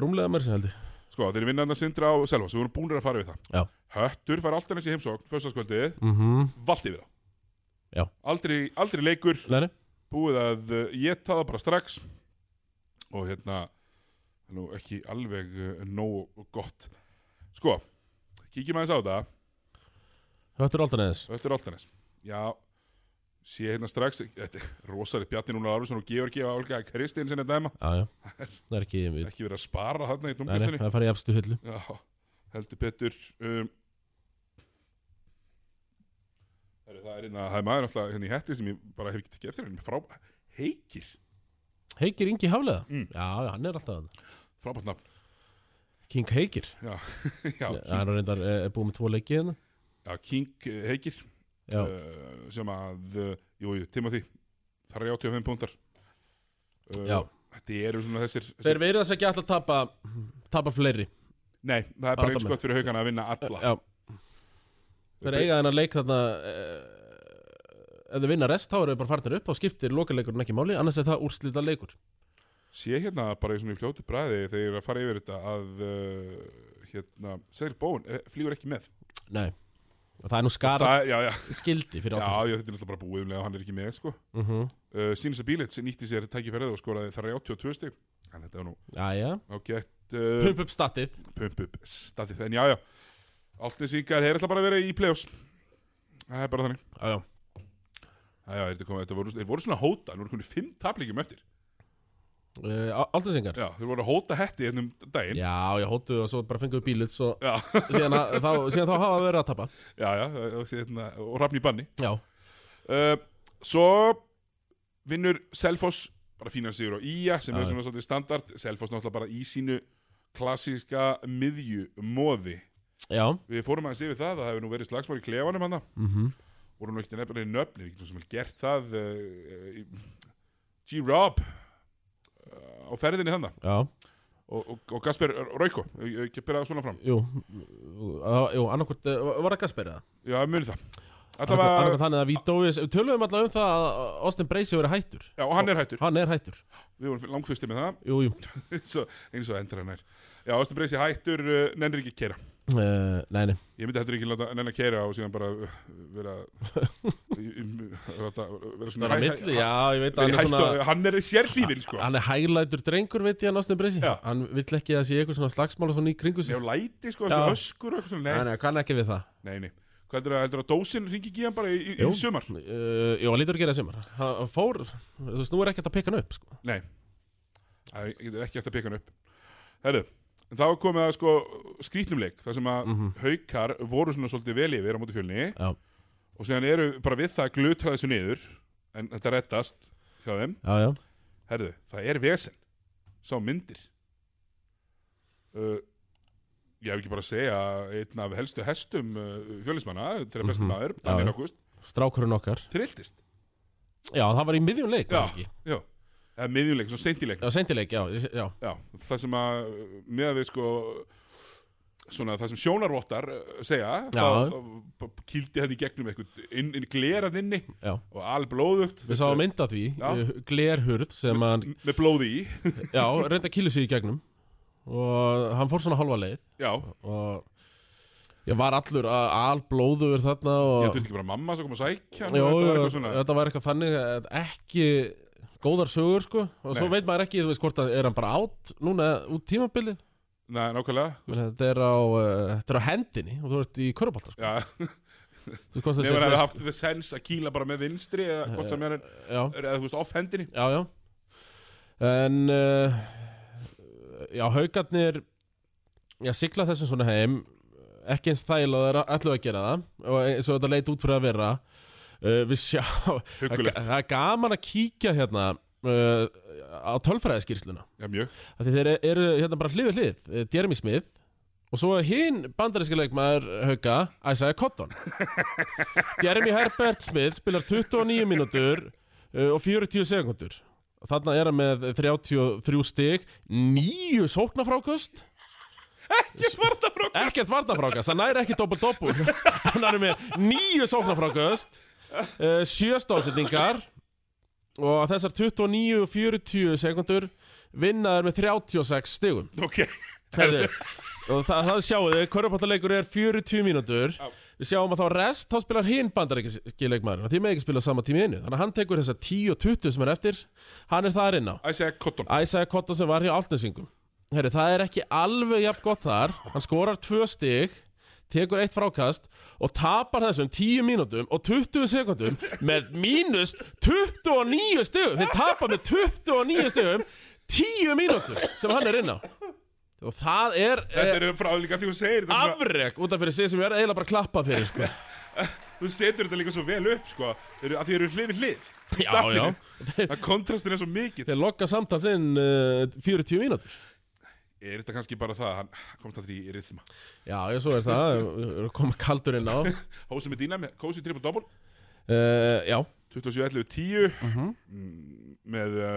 Speaker 2: Rúmlega mér sem heldur
Speaker 1: Sko, þeir vinna hann að sindra á selva Svo við erum búinir að fara við það
Speaker 2: Já.
Speaker 1: Höttur fær alltaf næst í heimsókn Föstaskvöldið,
Speaker 2: mm -hmm.
Speaker 1: vald yfir það
Speaker 2: Já.
Speaker 1: aldrei, aldrei leikur
Speaker 2: Læri?
Speaker 1: Búið að uh, ég taða bara strax Og hérna Nú, ekki alveg uh, nóg gott Sko, kíkjum aðeins á það
Speaker 2: Höttur Altanæðis
Speaker 1: Öttur Altanes Já, sé hérna strax Þetta er rosalit Bjarni Núna Arvinsson og Georgi og Olga Kristins en dæma
Speaker 2: Já, já Það er ekki við
Speaker 1: Ekki verið að spara þarna í
Speaker 2: Nei, nei,
Speaker 1: domkvistinni
Speaker 2: það fari í efstu hullu
Speaker 1: Já, heldur betur um, Heru, Það er hérna, það er maður alltaf hérna í hetti sem ég bara hef ekki tekið eftir hérna, frá, Heikir,
Speaker 2: Heikir Ingi Haflega
Speaker 1: Mm.
Speaker 2: Já, já, hann er alltaf hann
Speaker 1: frábært nafn
Speaker 2: King Heikir
Speaker 1: Já,
Speaker 2: Já,
Speaker 1: King,
Speaker 2: Hann er reyndar eh, búið með tvo leikið hérna
Speaker 1: já, King eh, Heikir
Speaker 2: Já,
Speaker 1: uh, sem að, uh, jú, jú, Timothy þar er 85 púntar uh,
Speaker 2: Já.
Speaker 1: Þetta eru svona þessir,
Speaker 2: þeir
Speaker 1: þessir
Speaker 2: verið þess ekki alltaf tapa Tapa fleiri
Speaker 1: Nei, það er bara eins
Speaker 2: Aldamenn.
Speaker 1: gott fyrir haugana að vinna alla
Speaker 2: Já Þeir eiga þennan leik þarna eh, Ef þeir vinna rest þá eru þeir bara farnir upp þá skiptir lokaleikurinn ekki máli annars er það úrslita leikur
Speaker 1: Sé hérna bara í svona í fljótu bræði þegar ég er að fara yfir þetta að uh, hérna, Segil Bóin eh, flýgur ekki með
Speaker 2: Nei og Það er nú skara
Speaker 1: það, Já, já,
Speaker 2: skildi fyrir
Speaker 1: já,
Speaker 2: áttast
Speaker 1: já, þetta er náttúrulega bara búið um leið og hann er ekki með sko.
Speaker 2: mm -hmm.
Speaker 1: uh, Sýnisa Bílits nýtti sér tækifærið og skoraði þar 82 stig Þannig þetta var nú
Speaker 2: Jæja
Speaker 1: ágætt uh,
Speaker 2: Pump upp statið
Speaker 1: Pump up statið En já, já, allt þessi yngar er alltaf bara að vera í play-offs Það er bara þannig
Speaker 2: Já, já
Speaker 1: Já, já, þetta, kom, þetta voru, þeir voru svona að hóta, nú er konið fimm taplíkjum eftir
Speaker 2: uh, Altansingar
Speaker 1: Já, þeir voru að hóta hetti hennum daginn
Speaker 2: Já, ég hóttu og svo bara fenguðu bílið svo
Speaker 1: Já,
Speaker 2: síðan, að- þá, síðan þá hafa þeir verið að tapa
Speaker 1: já, já, og, hérna, og rafn í banni
Speaker 2: Já,
Speaker 1: Uh, svo vinnur Selfoss bara fínan sigur á Ía sem
Speaker 2: Já,
Speaker 1: er svona svolítið standard Selfoss náttúrulega bara í sínu klassíska miðju móði
Speaker 2: já
Speaker 1: við fórum aðeins yfir það, það hefur nú verið slagsmár í klefanum hann
Speaker 2: mm
Speaker 1: voru nú ekkert nefnilega nöfni, við getum sem vel gert það uh, í- G-Rob uh, á ferðinni þannig
Speaker 2: Já,
Speaker 1: og, og, og Gasper Rauko, ég ég get byrjað svona fram
Speaker 2: jú uh, Jú, annarkvort, uh, var það Gasperi það?
Speaker 1: já, muni það Allavega,
Speaker 2: Annarkvort hann eða Vítóis Tölum allavega um það að Austin Bracey verið hættur
Speaker 1: já, og hann er hættur
Speaker 2: Hann er hættur
Speaker 1: við vorum langfyrsti með það
Speaker 2: Jú, jú
Speaker 1: eins og, eins og endur hann er já, Ástin Breysi hættur, uh, nennir ekki að kera
Speaker 2: Uh, nei, nei,
Speaker 1: Ég myndi heldur ekki láta nenni að keira og síðan bara uh, vera láta, vera svona
Speaker 2: það er að milli, já, ég veit að
Speaker 1: hann,
Speaker 2: hann er svona
Speaker 1: hann er sérlífin sko
Speaker 2: Hann er hæglætur drengur, veit ég, hann Ástin Breysi
Speaker 1: Já.
Speaker 2: Hann vill ekki að sé eitthvað svona slagsmál og svona í kringu
Speaker 1: Nei,
Speaker 2: sig
Speaker 1: og læti sko,
Speaker 2: Já.
Speaker 1: ekki öskur og eitthvað svona
Speaker 2: Nei,
Speaker 1: Nei,
Speaker 2: nei, kann ekki við það
Speaker 1: nei, nei Hvað heldur að, heldur að dósin ringi ekki í hann bara í, í, í
Speaker 2: Jú.
Speaker 1: sumar?
Speaker 2: uh, Jú, hann lítur að gera sumar Hann hann fór, þú veist, nú er ekkert að peka hann upp sko.
Speaker 1: Nei Það er- ég er ekki eftir að peka hann upp Herðu, en þá er komið að sko skrítnum leik þar sem að
Speaker 2: Mm.
Speaker 1: haukar voru svona svolítið vel yfir á móti fjölni
Speaker 2: Mhm. Já,
Speaker 1: og síðan eru bara við það að glutra þessu niður en þetta rettast hjá þeim
Speaker 2: já, já
Speaker 1: Herðu, það er vesen Sá myndir uh, Ég hef ekki bara að segja einn af helstu hestum uh, fjölismanna, þeirra besti
Speaker 2: Mhm.
Speaker 1: maður
Speaker 2: Já,
Speaker 1: Daniel
Speaker 2: já.
Speaker 1: August,
Speaker 2: Strákurinn okkar
Speaker 1: trilltist
Speaker 2: Já, það var í miðjum leik var
Speaker 1: Já.
Speaker 2: það ekki?
Speaker 1: Já, eða miðjuleik, svo seintileik
Speaker 2: já seintileik, já, ég- já
Speaker 1: Já, það sem að með að við sko svona það sem sjónarvottar uh, segja þá,
Speaker 2: Já.
Speaker 1: þá b- kýldi þetta í gegnum eitthvað inn, inn glerað inni
Speaker 2: Já.
Speaker 1: og alblóðugt
Speaker 2: Við sáum mynd af því,
Speaker 1: Já.
Speaker 2: já. glerhurð sem hann,
Speaker 1: með blóði í
Speaker 2: já, reynda að kýla sig í gegnum og hann fór svona hálfa leið
Speaker 1: Já,
Speaker 2: og ég var allur að alblóður þarna
Speaker 1: ég
Speaker 2: og
Speaker 1: þurfti ekki bara mamma sem kom að sækja hann
Speaker 2: Jó,
Speaker 1: og þetta var eitthvað svona
Speaker 2: þetta var eitthvað þannig að ekki góðar sögur sko og svo
Speaker 1: Nei.
Speaker 2: veit maður ekki, þú veist hvort að er hann bara átt núna út tímabilið
Speaker 1: Nei, nákvæmlega
Speaker 2: Menn, þetta, er á, uh, þetta er á hendinni og þú ert í körubalta sko.
Speaker 1: Já,
Speaker 2: Þú veist hvort það
Speaker 1: nefnir að
Speaker 2: sé-
Speaker 1: það haft the sense að kýla bara með vinstri eða hvort sem er,
Speaker 2: Já,
Speaker 1: eða þú veist, off hendinni
Speaker 2: já, já En uh, Já, haugarnir Já, sigla þessum svona heim Ekki eins þægilega og það er allu að gera það Og eins og þetta leit út fyrir að vera uh, Við sjá Það
Speaker 1: Huggulegt,
Speaker 2: það er gaman að kíkja hérna uh, Á tölfræðiskýrsluna
Speaker 1: já mjög
Speaker 2: Af Því þeir eru hérna bara hlið við hlið eh, Jeremy Smith Og svo hinn bandaríski leikmaður hauka Isaiah Cotton Jeremy Herbert Smith spilar 29 mínútur uh, og 40 sekundur Þarna er hann með 33 stig Nýju sóknafrákust
Speaker 1: Ekki svarta frá
Speaker 2: Ekkert varnafrákast, hann næri ekki doppel-doppel Hann er með nýju sóknafrákust uh, Sjöstásetningar Og þessar 29 og 40 sekundur Vinnaður með 36 stigum
Speaker 1: Ok,
Speaker 2: Herðu, og það, það sjáu þið, körfabáttaleikur er 40 mínútur
Speaker 1: Já.
Speaker 2: Við sjáum að þá rest, þá spilar hinn bandaríkileikmaðurinn og Því með ekki spila sama tími í einu Þannig að hann tekur þessa 10 og 20 sem er eftir Hann er þar inn á
Speaker 1: Isaiah Cotton
Speaker 2: Æsæja Kotta sem var hjá Altnesingum Herru, það er ekki alveg jafn gott þar Hann skorar tvö stig Tekur eitt frákast Og tapar þessum 10 mínútum og 20 sekundum Með mínust 29 stigum Þeir tapa með 29 stigum 10 mínútum sem hann er inn á Og það er,
Speaker 1: Þetta
Speaker 2: er
Speaker 1: er frá líka því þú segir þetta svona-
Speaker 2: afrek út af fyrir sig sem ég er eiginlega bara að klappa fyrir sko.
Speaker 1: Þú setur þetta líka svo vel upp sko eru- að því eru hlið við hlið í
Speaker 2: Já,
Speaker 1: statinu.
Speaker 2: já.
Speaker 1: Að kontrastin er svo mikill
Speaker 2: Þeir lokka samtals inn uh, 40 mínútur
Speaker 1: Er þetta kannski bara það að hann komst það í rytma
Speaker 2: Já, ég svo er það, er að koma kaldur inn á
Speaker 1: Hósi með dýna með Kósi triple double
Speaker 2: uh, Já,
Speaker 1: 27-11-10
Speaker 2: Mhm.
Speaker 1: Mm, með uh,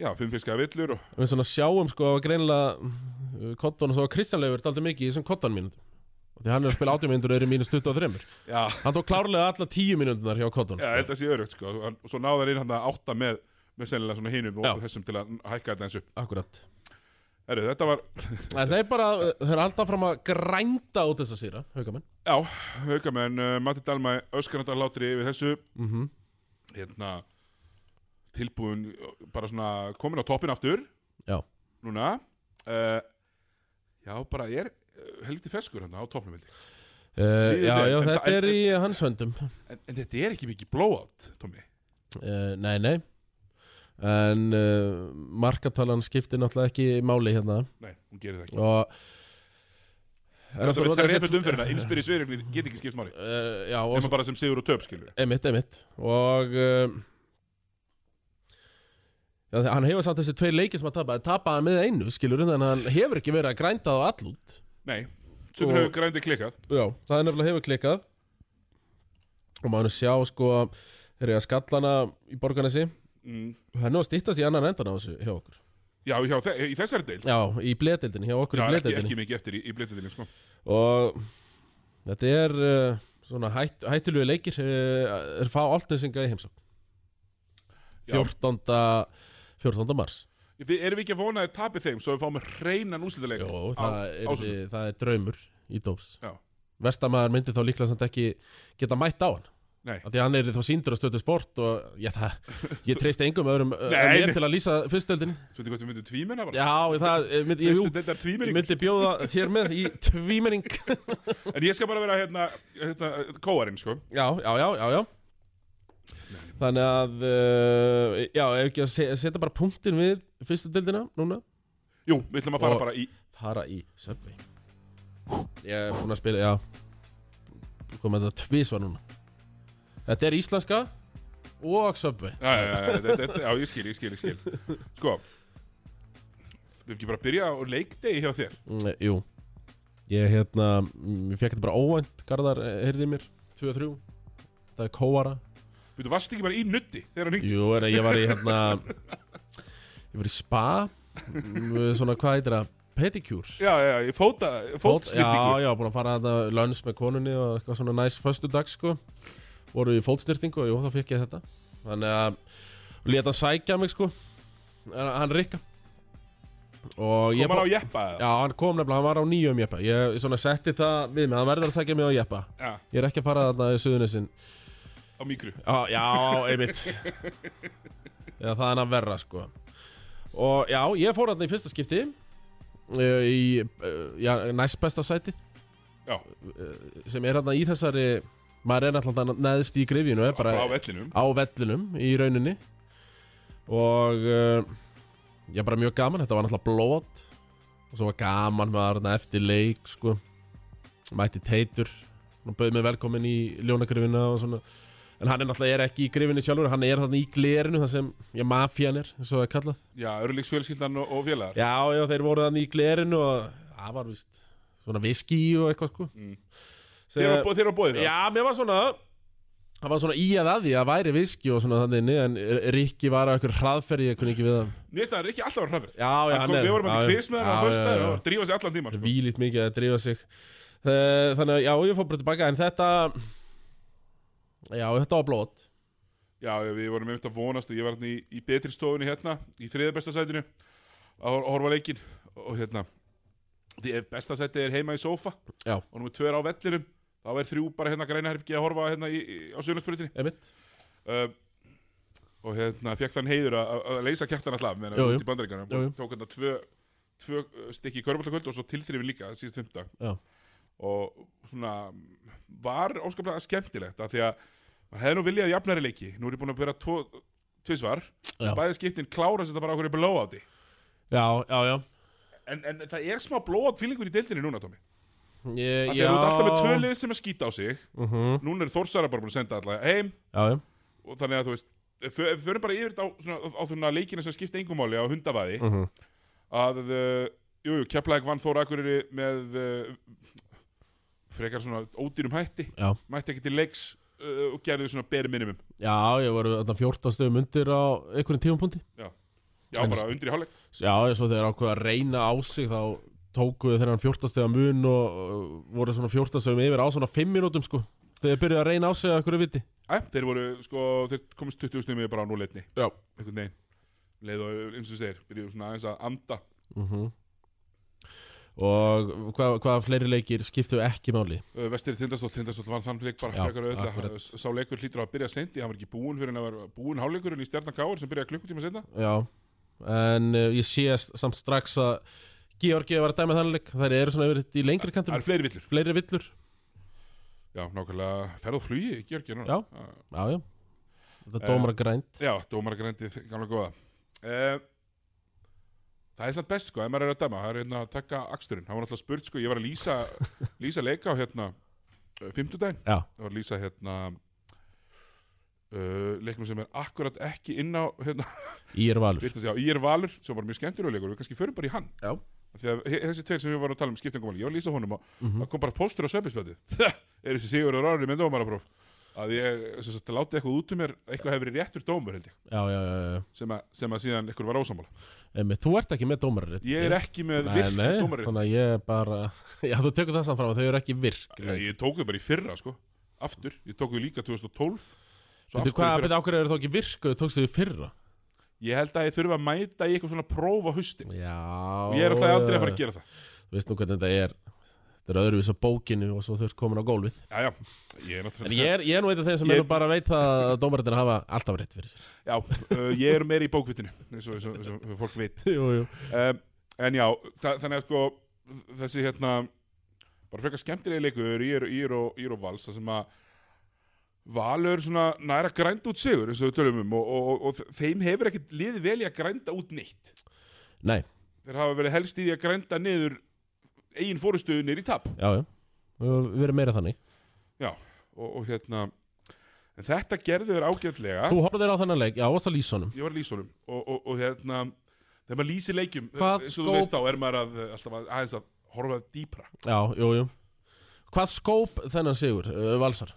Speaker 1: já, fimm fiskaða villur og
Speaker 2: við svona sjáum sko að greinilega kottan og svo Kristján Leifur er aldrei mikið í þessum kottan mínútum og því hann er að spila 80 mínútur og er í mínus 23
Speaker 1: já,
Speaker 2: hann tók klárlega alla 10 mínúturnar hjá kottan
Speaker 1: já þetta sé örugt sko og svo náða hann inn hann að átta með með sennilega svona hinum og
Speaker 2: Já.
Speaker 1: þessum til að hækka þetta eins upp
Speaker 2: akkurat
Speaker 1: Heru, þetta var,
Speaker 2: en þeir bara, uh, þeir er alltaf fram að grænda út þessa sýra, haugamenn
Speaker 1: já, haukamenn uh, Matti Dalmæ öskarandar látri yfir þessu
Speaker 2: mm
Speaker 1: Mhm.
Speaker 2: -hmm.
Speaker 1: hérna tilbúin bara svona komin á toppin aftur
Speaker 2: Já.
Speaker 1: núna uh, já, bara ég er eh, helviti feskur hann á toppnum held ég.
Speaker 2: Uh, já,
Speaker 1: Líður
Speaker 2: já,
Speaker 1: vel, en
Speaker 2: þetta
Speaker 1: það-
Speaker 2: er í hans höndum
Speaker 1: en, en þetta er ekki mikið blowout, Tommy
Speaker 2: uh, nei, nei en uh, markatalan skiptir náttúrulega ekki máli hérna
Speaker 1: nei, hún gerir það ekki
Speaker 2: og
Speaker 1: það, það, það er eftir
Speaker 2: uh,
Speaker 1: umfyrirna, innspyrir sveirjögnir get ekki skipt máli
Speaker 2: já, og
Speaker 1: nema bara sem sigur og töp, skilur
Speaker 2: Einmitt, einmitt Og um, já, þe- Hann hefur samt þessi tveir leiki sem að tapa Tapaði með einu, skilur Þannig að hann hefur ekki verið að grænda á allút
Speaker 1: nei, sem
Speaker 2: Og-
Speaker 1: hefur grændi klikkað
Speaker 2: Já, það er nefnilega hefur klikkað Og maður sjá sko Þeir eru að skallana í borgarnesi
Speaker 1: mm.
Speaker 2: Það er nú að stýttast í annan endan á þessu hjá okkur
Speaker 1: já, já, þe í þessari deil
Speaker 2: Já, í bledildinni, hjá okkur
Speaker 1: já,
Speaker 2: í
Speaker 1: ekki,
Speaker 2: bledildinni
Speaker 1: ekki mikið eftir í, í blitildinni sko.
Speaker 2: Og þetta er uh, svona hætt, hættulegu leikir uh, Er fá altnesinga í heimsókn
Speaker 1: Já.
Speaker 2: 14. 14. mars
Speaker 1: við erum við ekki að vona að þeir tapi þeim svo við fáum reynan úslitaleg
Speaker 2: Jó, það,
Speaker 1: á
Speaker 2: er,
Speaker 1: sunnudag.
Speaker 2: það er draumur í dós
Speaker 1: Já.
Speaker 2: Verstamaður myndi þá líklega samt ekki geta mætt á hann
Speaker 1: Nei.
Speaker 2: Af Því hann er þá síndur að stöðu sport og já, það, ég treysti engum öðrum Nei,
Speaker 1: Nei,
Speaker 2: mér
Speaker 1: nei.
Speaker 2: til að lýsa fyrstöldinni
Speaker 1: Þú veitir hvað við myndum tvímenna bara?
Speaker 2: Já, það, ég myndi,
Speaker 1: Fyrstu
Speaker 2: ég,
Speaker 1: deildar
Speaker 2: jú,
Speaker 1: tvímenning?
Speaker 2: ég myndi bjóða þér með í tvímenning
Speaker 1: En ég skal bara vera hérna, hérna kóarinn, sko.
Speaker 2: Já, já, já, já, já Þannig að, uh, já, ef ekki að se- setja bara punktin við fyrstu deildina núna
Speaker 1: Jú, við ætlum að fara
Speaker 2: Og-
Speaker 1: bara í...
Speaker 2: fara í Subway Ég er búinn að spila, já Komum þetta tvísvar núna Þetta er íslenska og Subway
Speaker 1: Já, já, já, já, þetta- þetta- já, ég skil, ég skil, ég skil. Sko, við ekki bara að byrja á leikdegi hjá þér.
Speaker 2: mm, Jú Ég hérna, mm, ég fekk þetta bara óvænt Garðar eh, heyrði í mér, 2-3 Það er kóara
Speaker 1: Við þú varst ekki bara í nutti þegar hann hringdi.
Speaker 2: Jú, er, ég var í hérna Ég var í spa mm, Svona, hvað heitir það? Pedicure
Speaker 1: Já, já, já, ég fóta,
Speaker 2: Já,
Speaker 1: fótsnýrtingu.
Speaker 2: já, búin að fara að lönns með konunni og eitthvað svona næs föstu dag sko voru í fótstyrtingu og jú, þá fekk ég þetta þannig að leta sækja mig sko En hann rikka og ég
Speaker 1: Kom hann
Speaker 2: fór,
Speaker 1: á jeppa eða?
Speaker 2: já, hann kom nefnilega, hann var á nýjum jeppa ég svona setti það við mig, hann verður að sækja mig á jeppa
Speaker 1: Já,
Speaker 2: ég er ekki að fara þarna í suðunisinn
Speaker 1: á mikru.
Speaker 2: Já, já, einmitt Já, það er að verra sko Og já, ég fór hann í fyrsta skipti eh, Í eh, já, næst besta sæti
Speaker 1: Já,
Speaker 2: Eh, Sem er hann í þessari Maður er náttúrulega neðst í grifjunu er
Speaker 1: bara á
Speaker 2: Bara
Speaker 1: vellinum.
Speaker 2: á vellinum í rauninni Og eh, Já, bara mjög gaman Þetta var náttúrulega blót Og svo var gaman maður þarna eftir leik sko Mætti teitur Hún bauði mig velkomin í ljónagrifina og svona En hann er náttúrulega er ekki í grifinu sjálfur, hann er þannig í glerinu, það sem, já, mafían er, eins og það er kallað.
Speaker 1: Já, örlíksfjölskyldan og, og félagar.
Speaker 2: Já, já, þeir voru þannig í glerinu og það var vist svona viski og eitthvað, sko.
Speaker 1: Mm.
Speaker 2: Sem-
Speaker 1: Þeir eru á bo- þeir eru á bóðið það.
Speaker 2: Já, mér var svona, það var svona í að að því að væri viski og svona þannig, inni, en Rikki var á eitthvað hraðferði, ég kunni ekki við það.
Speaker 1: Mér finnst að hann er ekki alltaf á hraðverð.
Speaker 2: Já, já, hann
Speaker 1: Kom,
Speaker 2: er.
Speaker 1: við vorum
Speaker 2: já,
Speaker 1: að
Speaker 2: já.
Speaker 1: kviss með hann á
Speaker 2: Já,
Speaker 1: föstu
Speaker 2: já, já.
Speaker 1: og drífa sig allan tíman. Sko.
Speaker 2: Vílít mikið að drífa sig Eh, Þannig að, já, ég fór bara tilbaka, en þetta, já, þetta var blót.
Speaker 1: Já, við vorum einmitt að vonast og ég var hérna í, í betri stofunni hérna, í þriða besta sætinu, að hor- horfa á leikinn og hérna, því ef besta sæti er heima í sófa
Speaker 2: Já.
Speaker 1: og nú er tver á vellinum, þá er þrjú bara hérna grænaherpki að horfa hérna í, í, á sunnarspyrutinni
Speaker 2: Einmitt.
Speaker 1: uh, og hérna, fekk þann heiður að- að að leysa kjartan alltaf meðan
Speaker 2: Jú,
Speaker 1: við
Speaker 2: jú.
Speaker 1: út í bandaríkana
Speaker 2: Jú, jú.
Speaker 1: tók hérna tvö, tvö uh, stykki í körbáltakvöld og svo tilþrifin líka síðast fymta
Speaker 2: Já.
Speaker 1: og svona var óskaplega skemmtilegt af því að maður hefði nú viljað jafnari leiki nú er ég búin að vera tvo, tvisvar
Speaker 2: Já.
Speaker 1: bæði skiptin klára sér þetta bara okkur í blóáti
Speaker 2: Já, já, já.
Speaker 1: en, en það er smá blóát fílingur í deildinni núna Tómi
Speaker 2: Ég,
Speaker 1: af því
Speaker 2: já.
Speaker 1: að þú ert alltaf með tvö lið sem er skýta á sig
Speaker 2: Mhm.
Speaker 1: núna er Þórsara bara búin að senda alla heim
Speaker 2: Já, já.
Speaker 1: og þannig að þú veist ef við ef við förum bara yfir þetta á, svona, á, á þunna leikina sem skipta engumáli á hundavaði
Speaker 2: Mhm.
Speaker 1: að uh, jú, jú, Keflæk vann Þóra Akureyri með uh, frekar svona ódýrum hætti
Speaker 2: Já.
Speaker 1: mætti ekki til leiks uh, og gerði svona bare minimum
Speaker 2: Já, ég voru þarna 14 stöðum undir á einhverjum tímapunkti.
Speaker 1: já,
Speaker 2: En-
Speaker 1: bara undir í hálfleik
Speaker 2: Já, ég svo þegar ákveða að reyna á sig þá tókuðu þennan 14 stöða mun og uh, voru svona 14 stöðum yfir á svona 5 mínútum sko. Þegar byrjuðu að reyna á sig að hverju viti.
Speaker 1: Æ, þeir voru, sko, þeir komist 20 snuðum bara á núleitni,
Speaker 2: Já.
Speaker 1: einhvern veginn leið og eins og þeir, byrjuðu svona aðeins að anda
Speaker 2: Mm
Speaker 1: Mhm.
Speaker 2: Og hvað, hvaða fleiri leikir skiptu ekki máli?
Speaker 1: uh, Vestir Tindastóll, Tindastóll vann þann leik bara
Speaker 2: Já,
Speaker 1: frekar
Speaker 2: akkurat.
Speaker 1: auðvitað, sá leikur hlýtur að byrja sendi, hann var ekki búinn fyrir en að var búinn hálfleikurinn í stjarnan káur sem byrjaði klukkutíma senda
Speaker 2: Já. En uh, ég sé s- samt strax að Georgi var að dæma þannig leik. Þær eru svona yfir í lengri kantum.
Speaker 1: það er fleiri villur,
Speaker 2: Fleiri villur.
Speaker 1: já, nákvæmlega ferð og flugi, Georgi, núna
Speaker 2: Já.
Speaker 1: Uh,
Speaker 2: Já, já. Þetta
Speaker 1: Eh,
Speaker 2: dómar grænt.
Speaker 1: já, dómaragrændið, gamla góða uh, Það er samt best, sko, ef maður er að dæma, það er hérna að taka aksturinn, það var náttúrulega spurt, sko, ég var að lýsa, lýsa leika á hérna, uh, fimmtudaginn
Speaker 2: Já.
Speaker 1: Það var að lýsa hérna uh, leiknum sem er akkurat ekki inn á hérna,
Speaker 2: Ír Valur.
Speaker 1: virtast, já, Ír Valur sem var mjög skemmtilegur leikur, við kannski förum bara í hann
Speaker 2: Já.
Speaker 1: því að he- þessi tveir sem við varum að tala um skiptingumáli, ég var að lýsa honum og það kom bara postur á sveppisblöðið er þessi Sigur og Rári með dómarapróf að ég sem sagt, láti eitthvað út um mér eitthvað hefur verið réttur dómur held ég
Speaker 2: Já, já, já, já.
Speaker 1: sem að, sem að síðan ykkur var ósamála
Speaker 2: Emi, þú ert ekki með dómararitt
Speaker 1: ég er ekki með hérna. virkt dómarapróf
Speaker 2: Þannig að ég bara Já, þú tekur það saman fram að þau eru ekki virk
Speaker 1: ég, ég tók þau bara í fyrra sko, aftur ég tók þau líka 2012 svo
Speaker 2: Veitu
Speaker 1: aftur í
Speaker 2: hvað,
Speaker 1: fyrra.
Speaker 2: betur ákveður eru þó ekki virk og þú tókst þau í fyrra
Speaker 1: ég held að ég þurfa að mæta í eitthvað svona prófa haustin
Speaker 2: Já
Speaker 1: og ég er alltaf aldrei að fara að gera það
Speaker 2: Þú veist nú hvernig þetta er Þetta er öðruvís á bókinu og svo þau ert komin á gólfið
Speaker 1: Já, já, ég er
Speaker 2: En
Speaker 1: náttúrulega
Speaker 2: ég er, ég er nú eitt af þeim sem
Speaker 1: Ég-
Speaker 2: eru bara að veit að dómarittir hafa alltaf rétt fyrir sér
Speaker 1: Já, uh, ég er meira í bókvitinu eins og, eins og, eins og fólk veit
Speaker 2: Jú, jú
Speaker 1: um, En já, þa þannig að sko þessi hérna bara frekar skemmtilegi leikur í er, í er, og, í er og vals þar sem að Valur svona næra grænd út sigur eins og við tölum um og, og, og, og þeim hefur ekkert liðið vel í að grænda út neitt
Speaker 2: Nei,
Speaker 1: Þeir hafa verið helst í því að grænda niður eigin fórustu niður í tap
Speaker 2: já, já Við erum meira þannig
Speaker 1: og, og hérna en þetta gerðu þeir ágætlega
Speaker 2: Þú horfður á þennan leik, já, varst að lýsa honum
Speaker 1: ég var að lýsa honum og, og, og hérna þegar maður lýsir leikjum
Speaker 2: Hvað
Speaker 1: eins og
Speaker 2: skóp-
Speaker 1: þú veist á er maður að, eh, alltaf að, aðeins að horfa dýpra
Speaker 2: Já, jú, jú Hvað skóp þennan sigur, uh, eh, Valsar?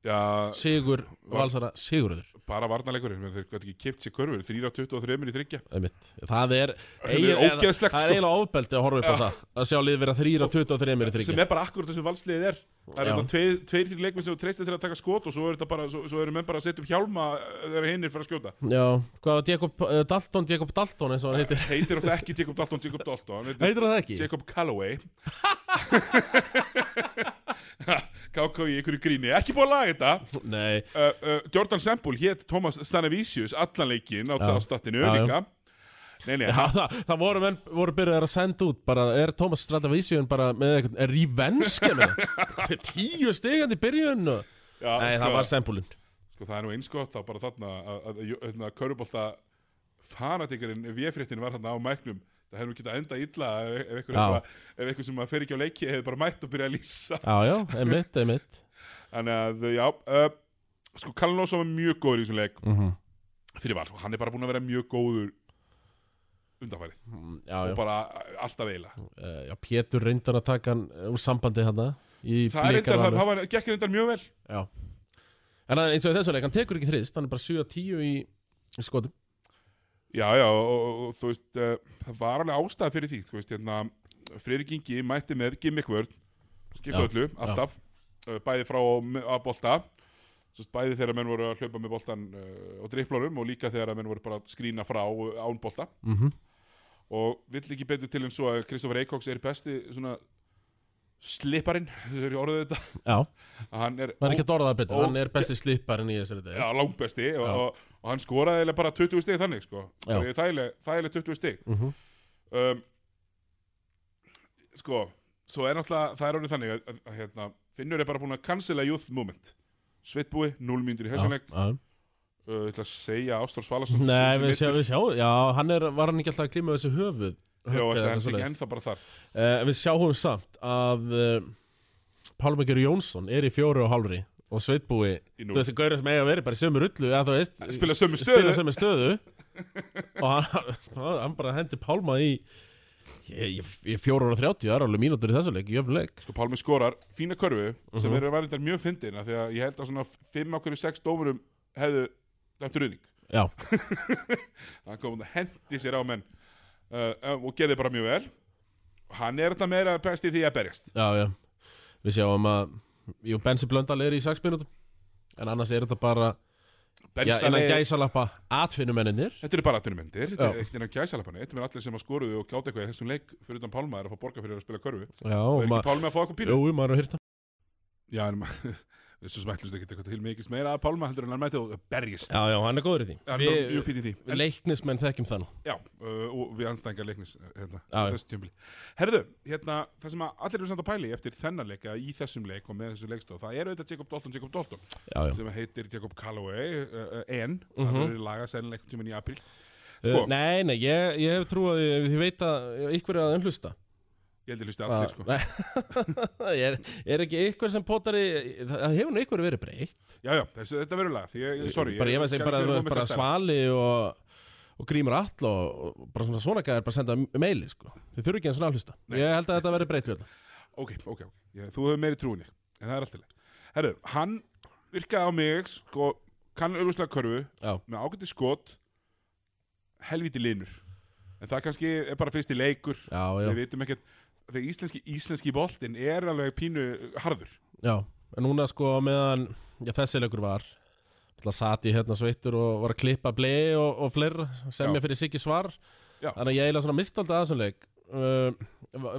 Speaker 1: já,
Speaker 2: Sigur,
Speaker 1: Val-
Speaker 2: Valsara, Sigurður
Speaker 1: bara varnarleikur þeir gæti ekki kipt sér körfur, 3-23 í þryggja
Speaker 2: einmitt. það er
Speaker 1: er
Speaker 2: eiginlega-
Speaker 1: ógeðslegt,
Speaker 2: það er
Speaker 1: sko.
Speaker 2: eiginlega ofbeldi að horfa upp á það að sjá lið vera 3 og 23 er
Speaker 1: sem
Speaker 2: 3
Speaker 1: er bara akkurat þessu valsliðið er það er
Speaker 2: Já.
Speaker 1: þetta tveir, tveir til leikmenn sem þú treystir til að taka skot og svo eru, þetta bara, svo, svo eru menn bara að setja upp hjálma eh, þegar hinn er fyrir að skjóta
Speaker 2: já, hvað var Jacob eh, Dalton Jacob Dalton eins og hann heitir
Speaker 1: heitir alltaf ekki Jacob Dalton, Jacob Dalton hann heitir
Speaker 2: heitir hann það ekki?
Speaker 1: Jacob Calloway KK í einhverju gríni ekki búið að laga þetta
Speaker 2: nei,
Speaker 1: uh, uh, Jordan Semple hétt Thomas Stanavisius allan leikinn á
Speaker 2: Já.
Speaker 1: tafstattinu
Speaker 2: Já, já.
Speaker 1: líka nei, nei,
Speaker 2: það, það, það voru, menn, voru byrjaðar að senda út bara, er Thomas Stradavísjón bara með eitthvað, er revenge með tíu stigandi byrjun og...
Speaker 1: já,
Speaker 2: nei,
Speaker 1: sko,
Speaker 2: það var sempulinn
Speaker 1: sko, það er nú eins gott þá bara þarna að, að, hérna, að, að körubolta fanatikurinn viðfréttin var þarna á mæknum það hefði nú getað enda illa ef, ef einhver
Speaker 2: Já.
Speaker 1: hefði bara- ef einhver sem að fer ekki á leiki hefði bara mætt og byrjað að lýsa
Speaker 2: já, já, einmitt, einmitt
Speaker 1: þannig að já uh, sko Kallinós var mjög góður í þessum leik
Speaker 2: mm -hmm.
Speaker 1: fyrir val og hann er bara búin að vera mjög góður undanfærið
Speaker 2: Mm, já, já.
Speaker 1: og bara uh, alltaf eila
Speaker 2: Eh, já, Pétur reyndan að taka hann eh, úr sambandi hann í
Speaker 1: það er reyndar, það,
Speaker 2: blikarvalinu.
Speaker 1: það var, gekk reyndar mjög vel
Speaker 2: Já. En hann, eins og í þessu leik, hann tekur ekki þrist, hann er bara 7-10 í í skotum.
Speaker 1: Já, já, og, og, og þú veist, uh, það var alveg ástæða fyrir því, þú veist, hérna, Friðrik Ingi mætti með gimmickvörn, skipta
Speaker 2: Já,
Speaker 1: öllu, alltaf, uh, bæði frá og me- að bolta, Sest, bæði þegar menn voru að hlaupa með boltan uh, og dripplórum og líka þegar menn voru bara að skrína frá og án bolta
Speaker 2: Mm -hmm.
Speaker 1: og vill ekki betur til en svo að Kristoffer Eikóks er besti svona slipparinn, þau eru orðið þetta,
Speaker 2: Já,
Speaker 1: að hann er,
Speaker 2: maður er ekki að orða það betur,
Speaker 1: ó-
Speaker 2: hann er besti slipparinn í þessu leik.
Speaker 1: já, langbesti og,
Speaker 2: Já.
Speaker 1: og, og hann skoraði eiginlega bara 20 stig þannig, sko,
Speaker 2: Já.
Speaker 1: það er þægileg, þægileg 20 stig.
Speaker 2: Mm -hmm.
Speaker 1: um, sko, svo er náttúrulega það er orðið þannig að, að, að hérna, Finnur er bara búin að cancela youth moment Sveitbúi, 0 mínútur í hessanleik uh, ég ætla að segja Ástrós Valarsson
Speaker 2: Nei, við sjáum, við sjáum, já, hann er, var hann ekki alltaf að klíma þessu höfuð?
Speaker 1: Já,
Speaker 2: Högg
Speaker 1: ætla,
Speaker 2: eða
Speaker 1: hann er
Speaker 2: svoleiðis.
Speaker 1: ekki ennþá bara þar
Speaker 2: Eh, Við sjáum samt að uh, Pálmekir Jónsson er í fjóru og hálfri og Sveitbúi,
Speaker 1: í
Speaker 2: þú
Speaker 1: núll.
Speaker 2: veist, gaurið sem eiga að vera bara í sömu rullu, eða þú veist,
Speaker 1: Spila sömu
Speaker 2: spila
Speaker 1: stöðu
Speaker 2: sem er stöðu og hann, hann bara hendi Pálma í ég, ég, ég fjórar og þrjátíu, það er alveg mínútur í þessu leik, jöfn leik
Speaker 1: Sko, Pálmi skorar fína körfu
Speaker 2: Mhm.
Speaker 1: sem er að vera þetta mjög fyndin af því að ég held að svona 5 okkur í 6 dómurum hefðu dæmt ruðning
Speaker 2: já,
Speaker 1: hann kom og hendi sér á menn uh, uh, og gerði bara mjög vel hann er þetta meira best í því að berjast
Speaker 2: já, já við sjáum að, jú, Bensi Blöndal er í 6 mínútum, en annars er þetta bara já,
Speaker 1: Berjast
Speaker 2: innan
Speaker 1: þannig-
Speaker 2: gæsalappa atvinnumenninir
Speaker 1: Þetta eru bara atvinnumendir, þetta
Speaker 2: Já.
Speaker 1: er ekkert innan gæsalapana Þetta er allir sem að skoruðu og gjáta eitthvað í þessum leik fyrir utan Pálma er að fá borga fyrir að spila körfu og er
Speaker 2: já, og
Speaker 1: ekki
Speaker 2: maður
Speaker 1: Pálmi að fá eitthvað pínu
Speaker 2: jú, maður er að hýrta
Speaker 1: Já, en maður, við svo smætlust ekki eitthvað til mikið meira að Pálma heldur en hann mæti og berjist
Speaker 2: já, já, hann er góður í
Speaker 1: Hann
Speaker 2: því
Speaker 1: er mjög
Speaker 2: við,
Speaker 1: fín í því
Speaker 2: við
Speaker 1: en,
Speaker 2: leiknismenn þekkjum þann
Speaker 1: Já, uh, og við anstænga leiknis uh, hérna,
Speaker 2: Já, já.
Speaker 1: þessu tjömbli Herðu, hérna, það sem að allir eru samt að pæli eftir þennan leika í þessum leik og með þessu leikstóð það eru auðvitað Jacob Dalton, Jacob Dalton
Speaker 2: já, já.
Speaker 1: sem heitir Jacob Calloway uh, uh, en,
Speaker 2: Mhm.
Speaker 1: hann verður lagað sennilega einhvern tímann í apríl Sko,
Speaker 2: Uh, nei, nei, ég, ég hef trú að ég, ég veit að ykkur er að umhlusta
Speaker 1: ég held ég hlusti
Speaker 2: Ah.
Speaker 1: allir sko
Speaker 2: Nei, er, er ekki ykkur sem potar í það hefur nú ykkur verið breytt
Speaker 1: Já, já, þessu, þetta verður lag, því ég, sorry
Speaker 2: Eh, bara, ég veist ekki bara,
Speaker 1: gerði
Speaker 2: bara,
Speaker 1: þér
Speaker 2: bara
Speaker 1: ómikla stærð.
Speaker 2: svali og, og grímur all og, og bara svona svona gæðir bara senda meili sko. þau þurfi ekki eins og að hlusta
Speaker 1: Nei.
Speaker 2: ég held að þetta verði breytt við þetta
Speaker 1: Ok, ok, ok, ég, þú hefur meiri trú en ég, en það er allt í leið Herru, hann virkaði á mig, sko, kann auðvitað körfu
Speaker 2: Já.
Speaker 1: Með ágæti skot, helviti linur En það kannski er bara fyrsti leikur
Speaker 2: já,
Speaker 1: Við
Speaker 2: já,
Speaker 1: vitum ekkert, þegar íslenski, íslenski boltinn er alveg pínu harður
Speaker 2: já en núna sko meðan já, þessi leikur var alltaf sat ég hérna sveittur og var að klippa blei og, og fleira sem
Speaker 1: Já.
Speaker 2: ég fyrir Siggi Svar
Speaker 1: Já.
Speaker 2: þannig að ég eiginlega svona mist alltaf aðeins um leik uh,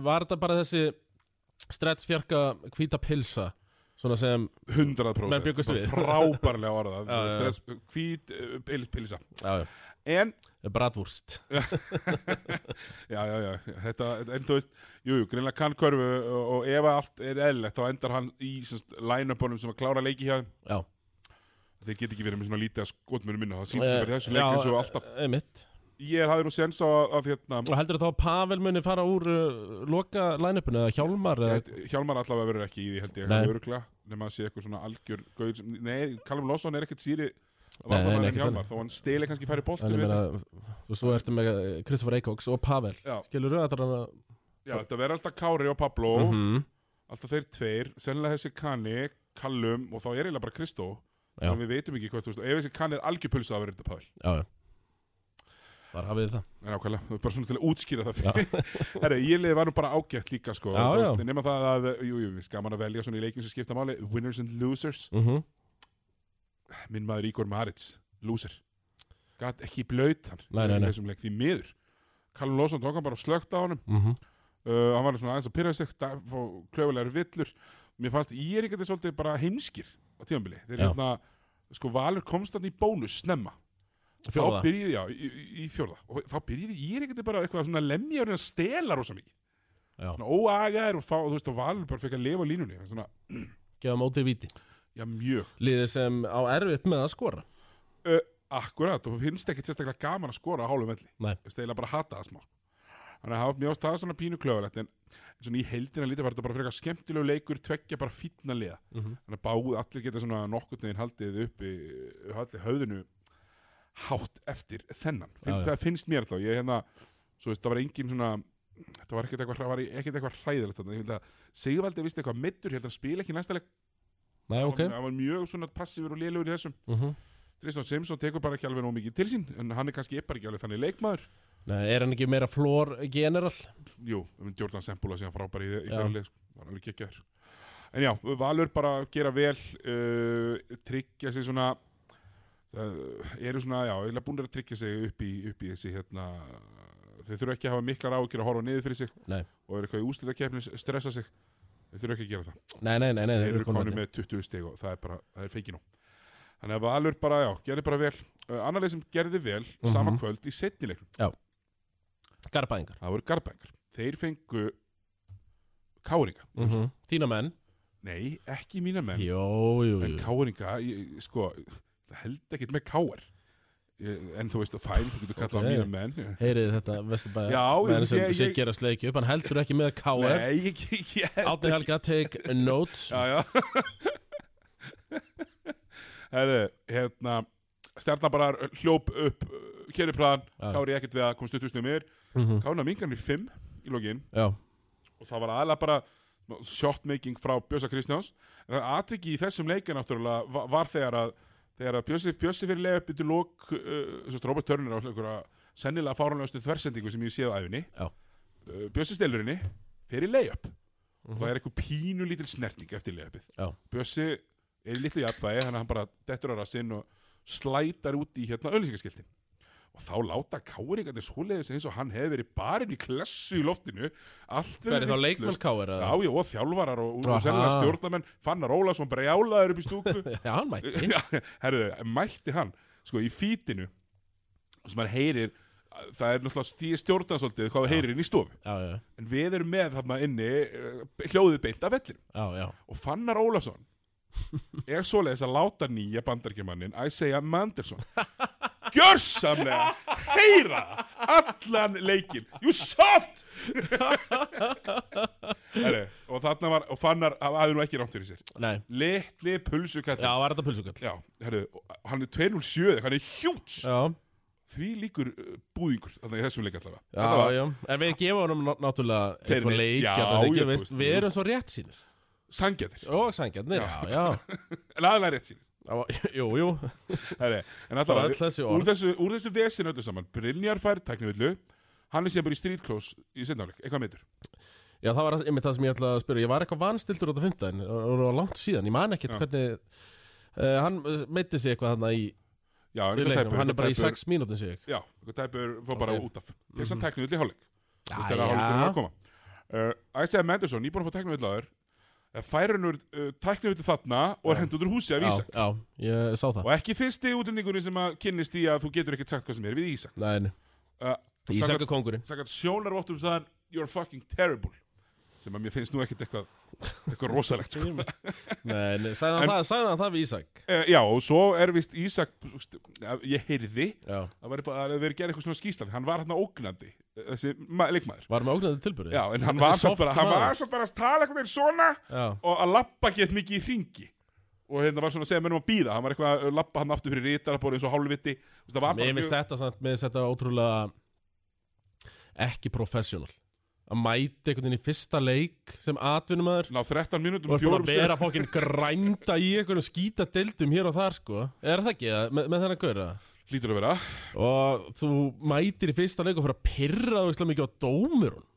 Speaker 2: var þetta bara þessi strettsfjarka hvíta pilsa svona sem
Speaker 1: 100%
Speaker 2: Menn bjuggust við.
Speaker 1: Frábærlega orðað
Speaker 2: Já, já, já.
Speaker 1: Stress, Hvít uh, pils- pilsa
Speaker 2: já, já,
Speaker 1: En
Speaker 2: bratwurst
Speaker 1: Já, já, já, þetta, en þú veist, jú, jú, greinlega kann körfu og, og ef allt er eðlilegt þá endar hann í semst, line-upunum sem að klára leiki hjá þeim.
Speaker 2: já
Speaker 1: Þeir get ekki verið með svona lítið að skotmjörnum minna, það sýnt sem verið þessu leik
Speaker 2: Eh, Já,
Speaker 1: eins og alltaf.
Speaker 2: einmitt.
Speaker 1: Ég hafði nú sens á að, að hérna,
Speaker 2: Og heldur þá að Pavel muni fara úr uh, loka line-upinu eða hjálmar eða...
Speaker 1: gæti- Hjálmar allavega verður ekki í því held ég,
Speaker 2: Nei.
Speaker 1: hann er örgla, nema að sé eitthvað svona algjör gauð sem, nei, Callum Lawson er ekkert síri
Speaker 2: Nei, nei,
Speaker 1: varnamæður
Speaker 2: ekkert
Speaker 1: en Hjálmar, þó hann steli kannski færi
Speaker 2: En
Speaker 1: boltum,
Speaker 2: ég
Speaker 1: við þetta.
Speaker 2: meina, þú svo ertu með Kristoffer Eikóks og Pavel
Speaker 1: Já,
Speaker 2: Skilur þú þetta hann að...
Speaker 1: já, þetta verður alltaf Kári og Pablo,
Speaker 2: Mhm.
Speaker 1: alltaf þeir tveir, sennilega þessi Kani, Callum og þá er eiginlega bara Kristó
Speaker 2: Já.
Speaker 1: og við veitum ekki hvað þú veist ef þessi kann er algjörpulsa að vera þetta pál
Speaker 2: já, já Þar hafið þið það
Speaker 1: en ákvæmlega, bara svona til að útskýra það fyrir herru, ég liði var nú bara ágætt líka sko,
Speaker 2: Já,
Speaker 1: þú
Speaker 2: já.
Speaker 1: veist, nema það að jú, jú, skaman að velja svona í leikin sem skipta máli winners and losers,
Speaker 2: mm -hmm.
Speaker 1: minn maður Ígor Marits loser, gæt ekki blöyt hann,
Speaker 2: Nei, nei,
Speaker 1: í
Speaker 2: nei.
Speaker 1: þessum leik því miður Callum Lawson tók hann bara og slögt á honum uh, hann var svona aðeins að pyrra sig klöfulegar villur mér fannst ég er ekki þetta svolítið bara heimskir á tíðanbili þeir
Speaker 2: Já.
Speaker 1: hérna sko Valur komst þannig í bónus snemma
Speaker 2: Fjórða.
Speaker 1: þá byrjiði, já, í, í- í fjórða og þá byrjiði ég er ekki bara eitthvað svona lemja og stela rosa mikið
Speaker 2: Já.
Speaker 1: svona óagaðir og, fá, og þú veist og Valur bara fekk að lifa á línunni svona,
Speaker 2: Gefa mótið víti
Speaker 1: já mjög
Speaker 2: Liðið sem á erfitt með að skora
Speaker 1: uh, akkurat og finnst ekkit sérstaklega gaman að skora á hálfum velli
Speaker 2: Nei.
Speaker 1: Ég veist, eiginlega bara hata það smá sko. þannig að hafa mjög ástæða svona pínu klöfulegt en svona í heldina lítið var þetta bara frekar skemmtilegu leikur tveggja bara fínna liða
Speaker 2: mm -hmm.
Speaker 1: þannig að báð allir geta svona nokkurn veginn haldið uppi, haldið höfðinu hátt eftir þennan Finn,
Speaker 2: Já, já.
Speaker 1: það finnst mér alltaf, ég hérna svo veist, það var engin svona það var ekkert eitthvað, það var ekkert eitthvað hræðilegt þarna. ég held að Sigvaldi vist eitthvað middur, ég held að hann spila ekki næsta leik,
Speaker 2: Nei, ok
Speaker 1: hann, hann var mjög svona passífur og lélugur í þessum,
Speaker 2: mm
Speaker 1: Tristan Simson tekur bara ekki alveg nóg mikið til sín, en hann er kannski er bara ekki alveg þannig leikmaður,
Speaker 2: Nei, er hann ekki meira flór general?
Speaker 1: jú, um Jordan Sembula síðan frábæri í, í
Speaker 2: Já.
Speaker 1: hverju leik, sko. var alveg gekkjaður en já, Valur bara gera vel uh, tryggja sig svona það eru svona, já, eða búin að tryggja sig upp í, upp í þessi hérna þau þurfa ekki að hafa miklar ágjur að horfa niður fyrir sig
Speaker 2: Nei.
Speaker 1: og eru eitthvað í úslitakefnis stressa sig þau þurfa ekki að gera það
Speaker 2: Nei, nei, nei, nei
Speaker 1: þeir eru
Speaker 2: komnir
Speaker 1: konir með 20 stig og það er bara, það er feikin á þannig að Valur bara, já, gerði bara vel uh, annar leið sem gerði vel, sama
Speaker 2: Mhm.
Speaker 1: kvöld í setni leiknum,
Speaker 2: með Garbaðingar
Speaker 1: það voru garbengar þeir fengu káringa
Speaker 2: mm -hmm. Þína menn
Speaker 1: nei, ekki mína Mhm. menn
Speaker 2: Jó, jú,
Speaker 1: en
Speaker 2: jú
Speaker 1: káringa, ég, sko það held ekkert með káar Ég- en þú veist að fæn, þú getur kallað
Speaker 2: Ok.
Speaker 1: okay. mína menn
Speaker 2: Heyrið þetta Vesturbæja
Speaker 1: Já, ég-
Speaker 2: menn sem,
Speaker 1: ég-
Speaker 2: sem
Speaker 1: ég-
Speaker 2: gerast leikju upp Hann heldur ekki með KR
Speaker 1: nei, ég, ég, ég held
Speaker 2: Átni Helga, take notes
Speaker 1: já, já Herri, hérna Stjarnar bara hljóp upp uh, Keri plan,
Speaker 2: Já.
Speaker 1: Kári ekkert við að komst upp úr mér,
Speaker 2: Mhm.
Speaker 1: Kána mingarnir fimm í lokin
Speaker 2: Já,
Speaker 1: og það var aðlega bara shotmaking frá Bjösa Kristjáns en það atviki í þessum leikin náttúrulega va- var þegar að, þegar að Bjössi, Bjössi fyrir leið upp yfir lók uh, Robert Turner á einhverja sennilega fáránlegustu þversendingu sem ég séð á æfinni
Speaker 2: Já. Mhm.
Speaker 1: uh, Bjössi stelur henni fyrir leið upp og það er eitthvað pínu lítil snertning eftir leið
Speaker 2: Já.
Speaker 1: Bjössi er í litlu jafnvægi þannig að hann bara dettur á rassinn og slætar út í hérna öllisingaskiltin og þá láta káringarnir svoleiðis eins og hann hefði verið barinn í klessu í loftinu allt
Speaker 2: það
Speaker 1: verið
Speaker 2: er þá
Speaker 1: vitlaust.
Speaker 2: leikmann KR
Speaker 1: Já,
Speaker 2: eða?
Speaker 1: já, og þjálfarar og, og
Speaker 2: Aha.
Speaker 1: sennilega stjórnamenn Fannar Ólason bara jálaður upp í stúku
Speaker 2: Já, hann mætti
Speaker 1: Já, Herðu, mætti hann sko í fítinu sem maður heyrir það er náttúrulega stíð stjórna svolítið hvað það heyrir inn í stofu
Speaker 2: Já, já,
Speaker 1: en við erum með þarna inni eh, hljóðið beint af vellinum
Speaker 2: já, já.
Speaker 1: og Fannar Ólason er svoleiðis að láta nýja bandargemannin Isaiah Manderson gjörsamlega heyra það allan leikin you soft Heri, og þarna var og Fannar hafði nú ekki rámt fyrir sér
Speaker 2: Nei,
Speaker 1: litli pulsukall
Speaker 2: já, var þetta pulsukall
Speaker 1: Já, herri, og hann er 207 hann er hjúts
Speaker 2: Já,
Speaker 1: því líkur uh, búðingur þannig í þessum leik allavega
Speaker 2: já,
Speaker 1: Þetta var
Speaker 2: já En við gefum honum ná- náttúrulega
Speaker 1: Þeir
Speaker 2: eitthvað
Speaker 1: nei-
Speaker 2: leik
Speaker 1: já,
Speaker 2: alltaf, ekki,
Speaker 1: já,
Speaker 2: veist,
Speaker 1: þú veist,
Speaker 2: Við
Speaker 1: jú.
Speaker 2: erum svo rétt sínir
Speaker 1: sangjarnir,
Speaker 2: Og sangjarnir, já, já,
Speaker 1: en aðlega rétt sín
Speaker 2: já. Jú, jú,
Speaker 1: herri, en
Speaker 2: bara
Speaker 1: allavega,
Speaker 2: öll þessi
Speaker 1: úr
Speaker 2: orð
Speaker 1: þessu, úr þessu vesin öllu saman Brynjar fær tæknivillu hann er síðan bara í street close í sendafleik eitthvað meitur
Speaker 2: Já, það var einmitt það sem ég ætlaði að spyrja. Ég var eitthvað vanstildur á þetta fymtaðin, það var langt síðan, ég man ekkert
Speaker 1: Já.
Speaker 2: hvernig... Uh, hann meiti sig eitthvað þarna í,
Speaker 1: já, en
Speaker 2: í
Speaker 1: eitthvað
Speaker 2: leiknum,
Speaker 1: tæpur,
Speaker 2: hann er bara í
Speaker 1: eitthvað tæpur,
Speaker 2: 6 mínútin sig
Speaker 1: já, eitthvað tæpur fór bara
Speaker 2: Ok. Mhm.
Speaker 1: út af fyrst hann tæknivillu í hálfleik
Speaker 2: Já,
Speaker 1: þess að hálfleikurinn var að koma uh, Isaiah Mendersson, nýbúin að fá tæknivillu aður fær hann úr uh, tæknivillu þarna og er hendur út úr húsi af
Speaker 2: já,
Speaker 1: Ísak
Speaker 2: já, ég sá það
Speaker 1: og ekki fyrsti útlendingunni sem að kynnist því að þú getur ekkert sagt hvað sem er við Ísak
Speaker 2: Nei, nei.
Speaker 1: uh,
Speaker 2: Ísak er kongurinn
Speaker 1: sagt að sjónarvottum sagðan you're fucking terrible sem að mér finnst nú ekkert eitthvað eitthvað rosalegt sko.
Speaker 2: Nei, nei, sagði hann,
Speaker 1: En-
Speaker 2: það, sagði hann það við Ísak
Speaker 1: Eh, Já, og svo er vist Ísak, st- að ég heyrði,
Speaker 2: Já,
Speaker 1: að veri, bara, að veri gerð eitthvað svona skýslandi, hann var hann ógnandi, eh, þessi ma- leikmaður.
Speaker 2: var með ógnandi tilbyrði
Speaker 1: Já, en hann
Speaker 2: Þessi
Speaker 1: var samt
Speaker 2: softi
Speaker 1: bara, hann
Speaker 2: maður.
Speaker 1: var samt bara að tala eitthvað þeir svona
Speaker 2: já,
Speaker 1: og að lappa gett mikið í ringi. Og hérna var svona að segja mönnum að býða, hann var eitthvað að lappa hann aftur fyrir rítarabóri eins og hálfviti. Þú veist, Það var bara
Speaker 2: mér finnst þetta samt, mér finnst þetta ótrúlega ekki professional að mæta einhvern veginn í fyrsta leik sem atvinnumæður
Speaker 1: Ná 13 mínútum
Speaker 2: og er búin
Speaker 1: fjórum
Speaker 2: að
Speaker 1: stöðum
Speaker 2: vera fokkin grænda í einhvern skýta deildum hér og þar sko er það ekki, eða, með, með þennan gaura
Speaker 1: Lítur að vera
Speaker 2: og þú mætir í fyrsta leik og fyrir að pyrra þú mikið á dómurun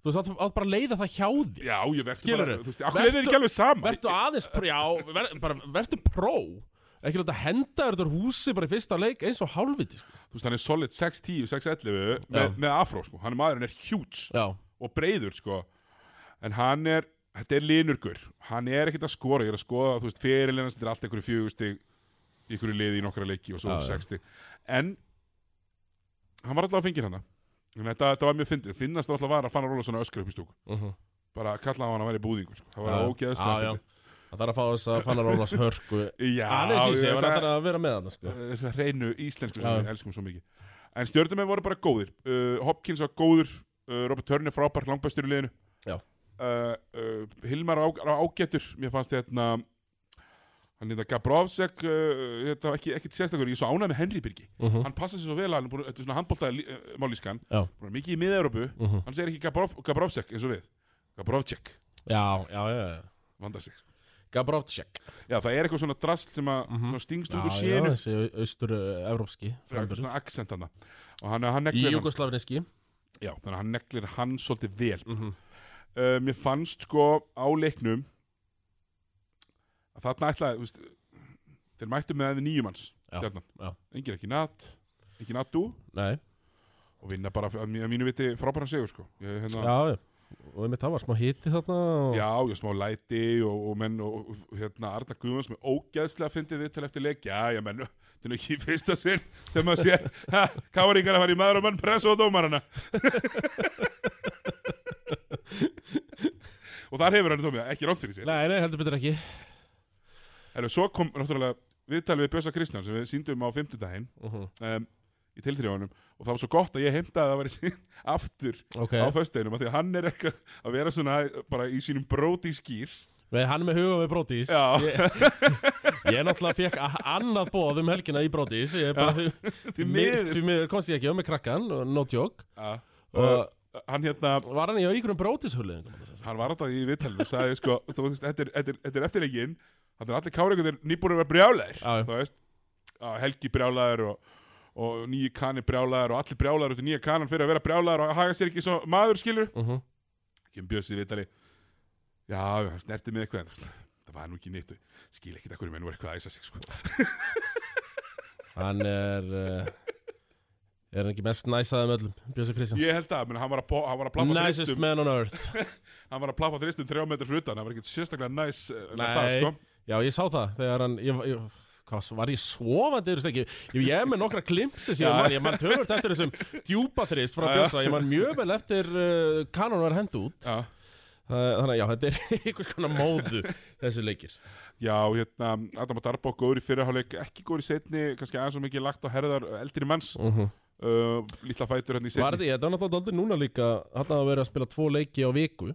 Speaker 2: þú veist, átt, átt bara að leiða það hjá þér
Speaker 1: Já, ég verður
Speaker 2: Skilurðu?
Speaker 1: bara Þú veist, akkur er þeir ekki alveg sama
Speaker 2: vertu aðeins, pr- já, ver, bara vertu pró ekki láta henda þér úr húsi bara í fyrsta leik eins og hálfviti sko.
Speaker 1: Þú veist, hann er solid 6'10, 6'11 með, með afró, sko Hann er maðurinn er huge
Speaker 2: já,
Speaker 1: og breyður, sko En hann er, þetta er linurgur Hann er ekkert að skora, ég er að skoða Þú veist, fyrirlinans, þetta er allt einhverju fjögustig í einhverju liði í nokkra leiki og svo
Speaker 2: Já, já.
Speaker 1: 60 En hann var alltaf að fengir hann Þetta, þetta var mjög fyndið, finnast alltaf var að fann að róla svona öskra upp í stúku
Speaker 2: uh -huh.
Speaker 1: bara kallaði hann að hann væri búðingur sko. það var ógeðslega
Speaker 2: já, já.
Speaker 1: fyndið.
Speaker 2: það þarf að fá þess að fannar Rólas hörku
Speaker 1: já,
Speaker 2: aðeins í sig,
Speaker 1: ég
Speaker 2: það
Speaker 1: sagði-
Speaker 2: þarf að vera með hann sko.
Speaker 1: uh, reynu íslensku sem
Speaker 2: Já.
Speaker 1: við elskum svo mikið en stjórnumenn voru bara góðir uh, Hopkins var góður, uh, Robert Turner frábær langbæstur í liðinu
Speaker 2: Já.
Speaker 1: Uh, uh, Hilmar á, á ágættur mér fannst hérna hann hérna Gabrovsek uh, hérna, ekki, ekki sérstakur, ég er svo ánægð með Henry Birgi
Speaker 2: uh -huh.
Speaker 1: hann passa sér svo vel að hann er búinn- þetta er svona handbóltaði uh, málískan
Speaker 2: Já.
Speaker 1: Búinn að vera mikið í miða-Európu
Speaker 2: Uh
Speaker 1: hann segir ekki Gabrov, Gabrovsek eins og við Gabrovcek,
Speaker 2: já, já, já, já.
Speaker 1: vandar sig
Speaker 2: Gabrovcek
Speaker 1: já það er eitthvað svona drast sem að
Speaker 2: Mhm.
Speaker 1: svona stingst út úr
Speaker 2: Já, já,
Speaker 1: sénu
Speaker 2: þessi austur-evrópski
Speaker 1: eitthvað svona accent hann og hann, hann
Speaker 2: Í
Speaker 1: neglir hann
Speaker 2: jugoslavneski
Speaker 1: Já, þannig að hann neglir hann svolítið vel.
Speaker 2: mm -hmm.
Speaker 1: Uh, mér fannst sko á leiknum að þarna ætlaði, þú veist, þeir mættu með aðeins nýjumanns,
Speaker 2: Já,
Speaker 1: stjarnan.
Speaker 2: já.
Speaker 1: Engin ekki natt, engin nattu
Speaker 2: Nei,
Speaker 1: og vinna bara að, mí- að mínu viti frábæran sigur sko. Ég, hérna,
Speaker 2: já, já Og einmitt það var smá hiti þarna og...
Speaker 1: já, ég smá læti og, og menn og og, hérna Arna Guðmunds með ógæðslega fyndið viðtal eftir leik. Já, já, menn, þetta er nú ekki í fyrsta sinn sem maður sér. Ha, Káringar að fara í maður og mann pressu á dómarana. og þar hefur hann dómið, ekki rámt fyrir sér.
Speaker 2: Nei, nei, heldur betur ekki
Speaker 1: Herru, svo kom náttúrulega viðtalið við Bjösa Kristján sem við síndum á fimmtudaginn
Speaker 2: uh -huh.
Speaker 1: um, í tilþrjóðunum og það var svo gott að ég heimtaði að það væri sín aftur
Speaker 2: Ok,
Speaker 1: á föstudeginum af því að hann er eitthvað að vera svona bara í sínum bróti skýr
Speaker 2: við hann með huga með brótis
Speaker 1: Já.
Speaker 2: Ég, ég náttúrulega fekk a- annað bóð um helgina í brótis Ég bara, því,
Speaker 1: því miður.
Speaker 2: Því miður komst ég ekki á með krakkan, og no joke
Speaker 1: að,
Speaker 2: Og
Speaker 1: hann hérna
Speaker 2: var hann í einhverjum brótishullu
Speaker 1: hann var alltaf í viðtalinu og sagði sko þú veist, þetta er- þetta er- þetta er eftirleikinn þannig að allir káringunir nýbúin að vera brjálæðir
Speaker 2: Já, já.
Speaker 1: þú veist, að Helgi brjálæðir og, og nýji kanni brjálæðir og allir brjálæðir út í nýja kanan fyrir að vera brjálæðir og haga sér ekki svo maður skilur
Speaker 2: uh -huh.
Speaker 1: kemur Bjössi í viðtali já, hann snerti mig eitthvað en þú veist, það var nú ekki neitt og skil ekki það hverju menn voru eitthvað að æsa sig sko.
Speaker 2: Hann er uh, Er hann ekki mest næsaðum öllum Bjössi Kristján
Speaker 1: ég held að, menn, hann var að, po- hann var að plaffa
Speaker 2: Nicest
Speaker 1: þristum
Speaker 2: man on earth
Speaker 1: hann var að plaffa þristum þrjá metr fyrir utan hann var ekkert sérstaklega næs eh, með
Speaker 2: Nei.
Speaker 1: það sko.
Speaker 2: Já, ég sá það þegar hann ég, ég, Hvað, var ég svovandi yfir stekki? Ég, ég er með nokkra glimpsi síðan
Speaker 1: Já.
Speaker 2: mann Ég mann tölvöld eftir þessum djúpaþrist frá
Speaker 1: Já, já.
Speaker 2: Bjössa Ég mann mjög vel eftir uh, kanon var hend út
Speaker 1: já,
Speaker 2: Það- Þannig að já, þetta er einhvers konar móðu Þessi leikir
Speaker 1: já, hérna Adam Darbo góður í fyrirháleik ekki góður í setni, kannski aðeins og mikið lagt á herðar eldri manns,
Speaker 2: uh
Speaker 1: uh, lítla fætur hérna í setni
Speaker 2: Varði, þetta var náttúrulega aldrei núna líka Hann að vera að spila tvo leiki á viku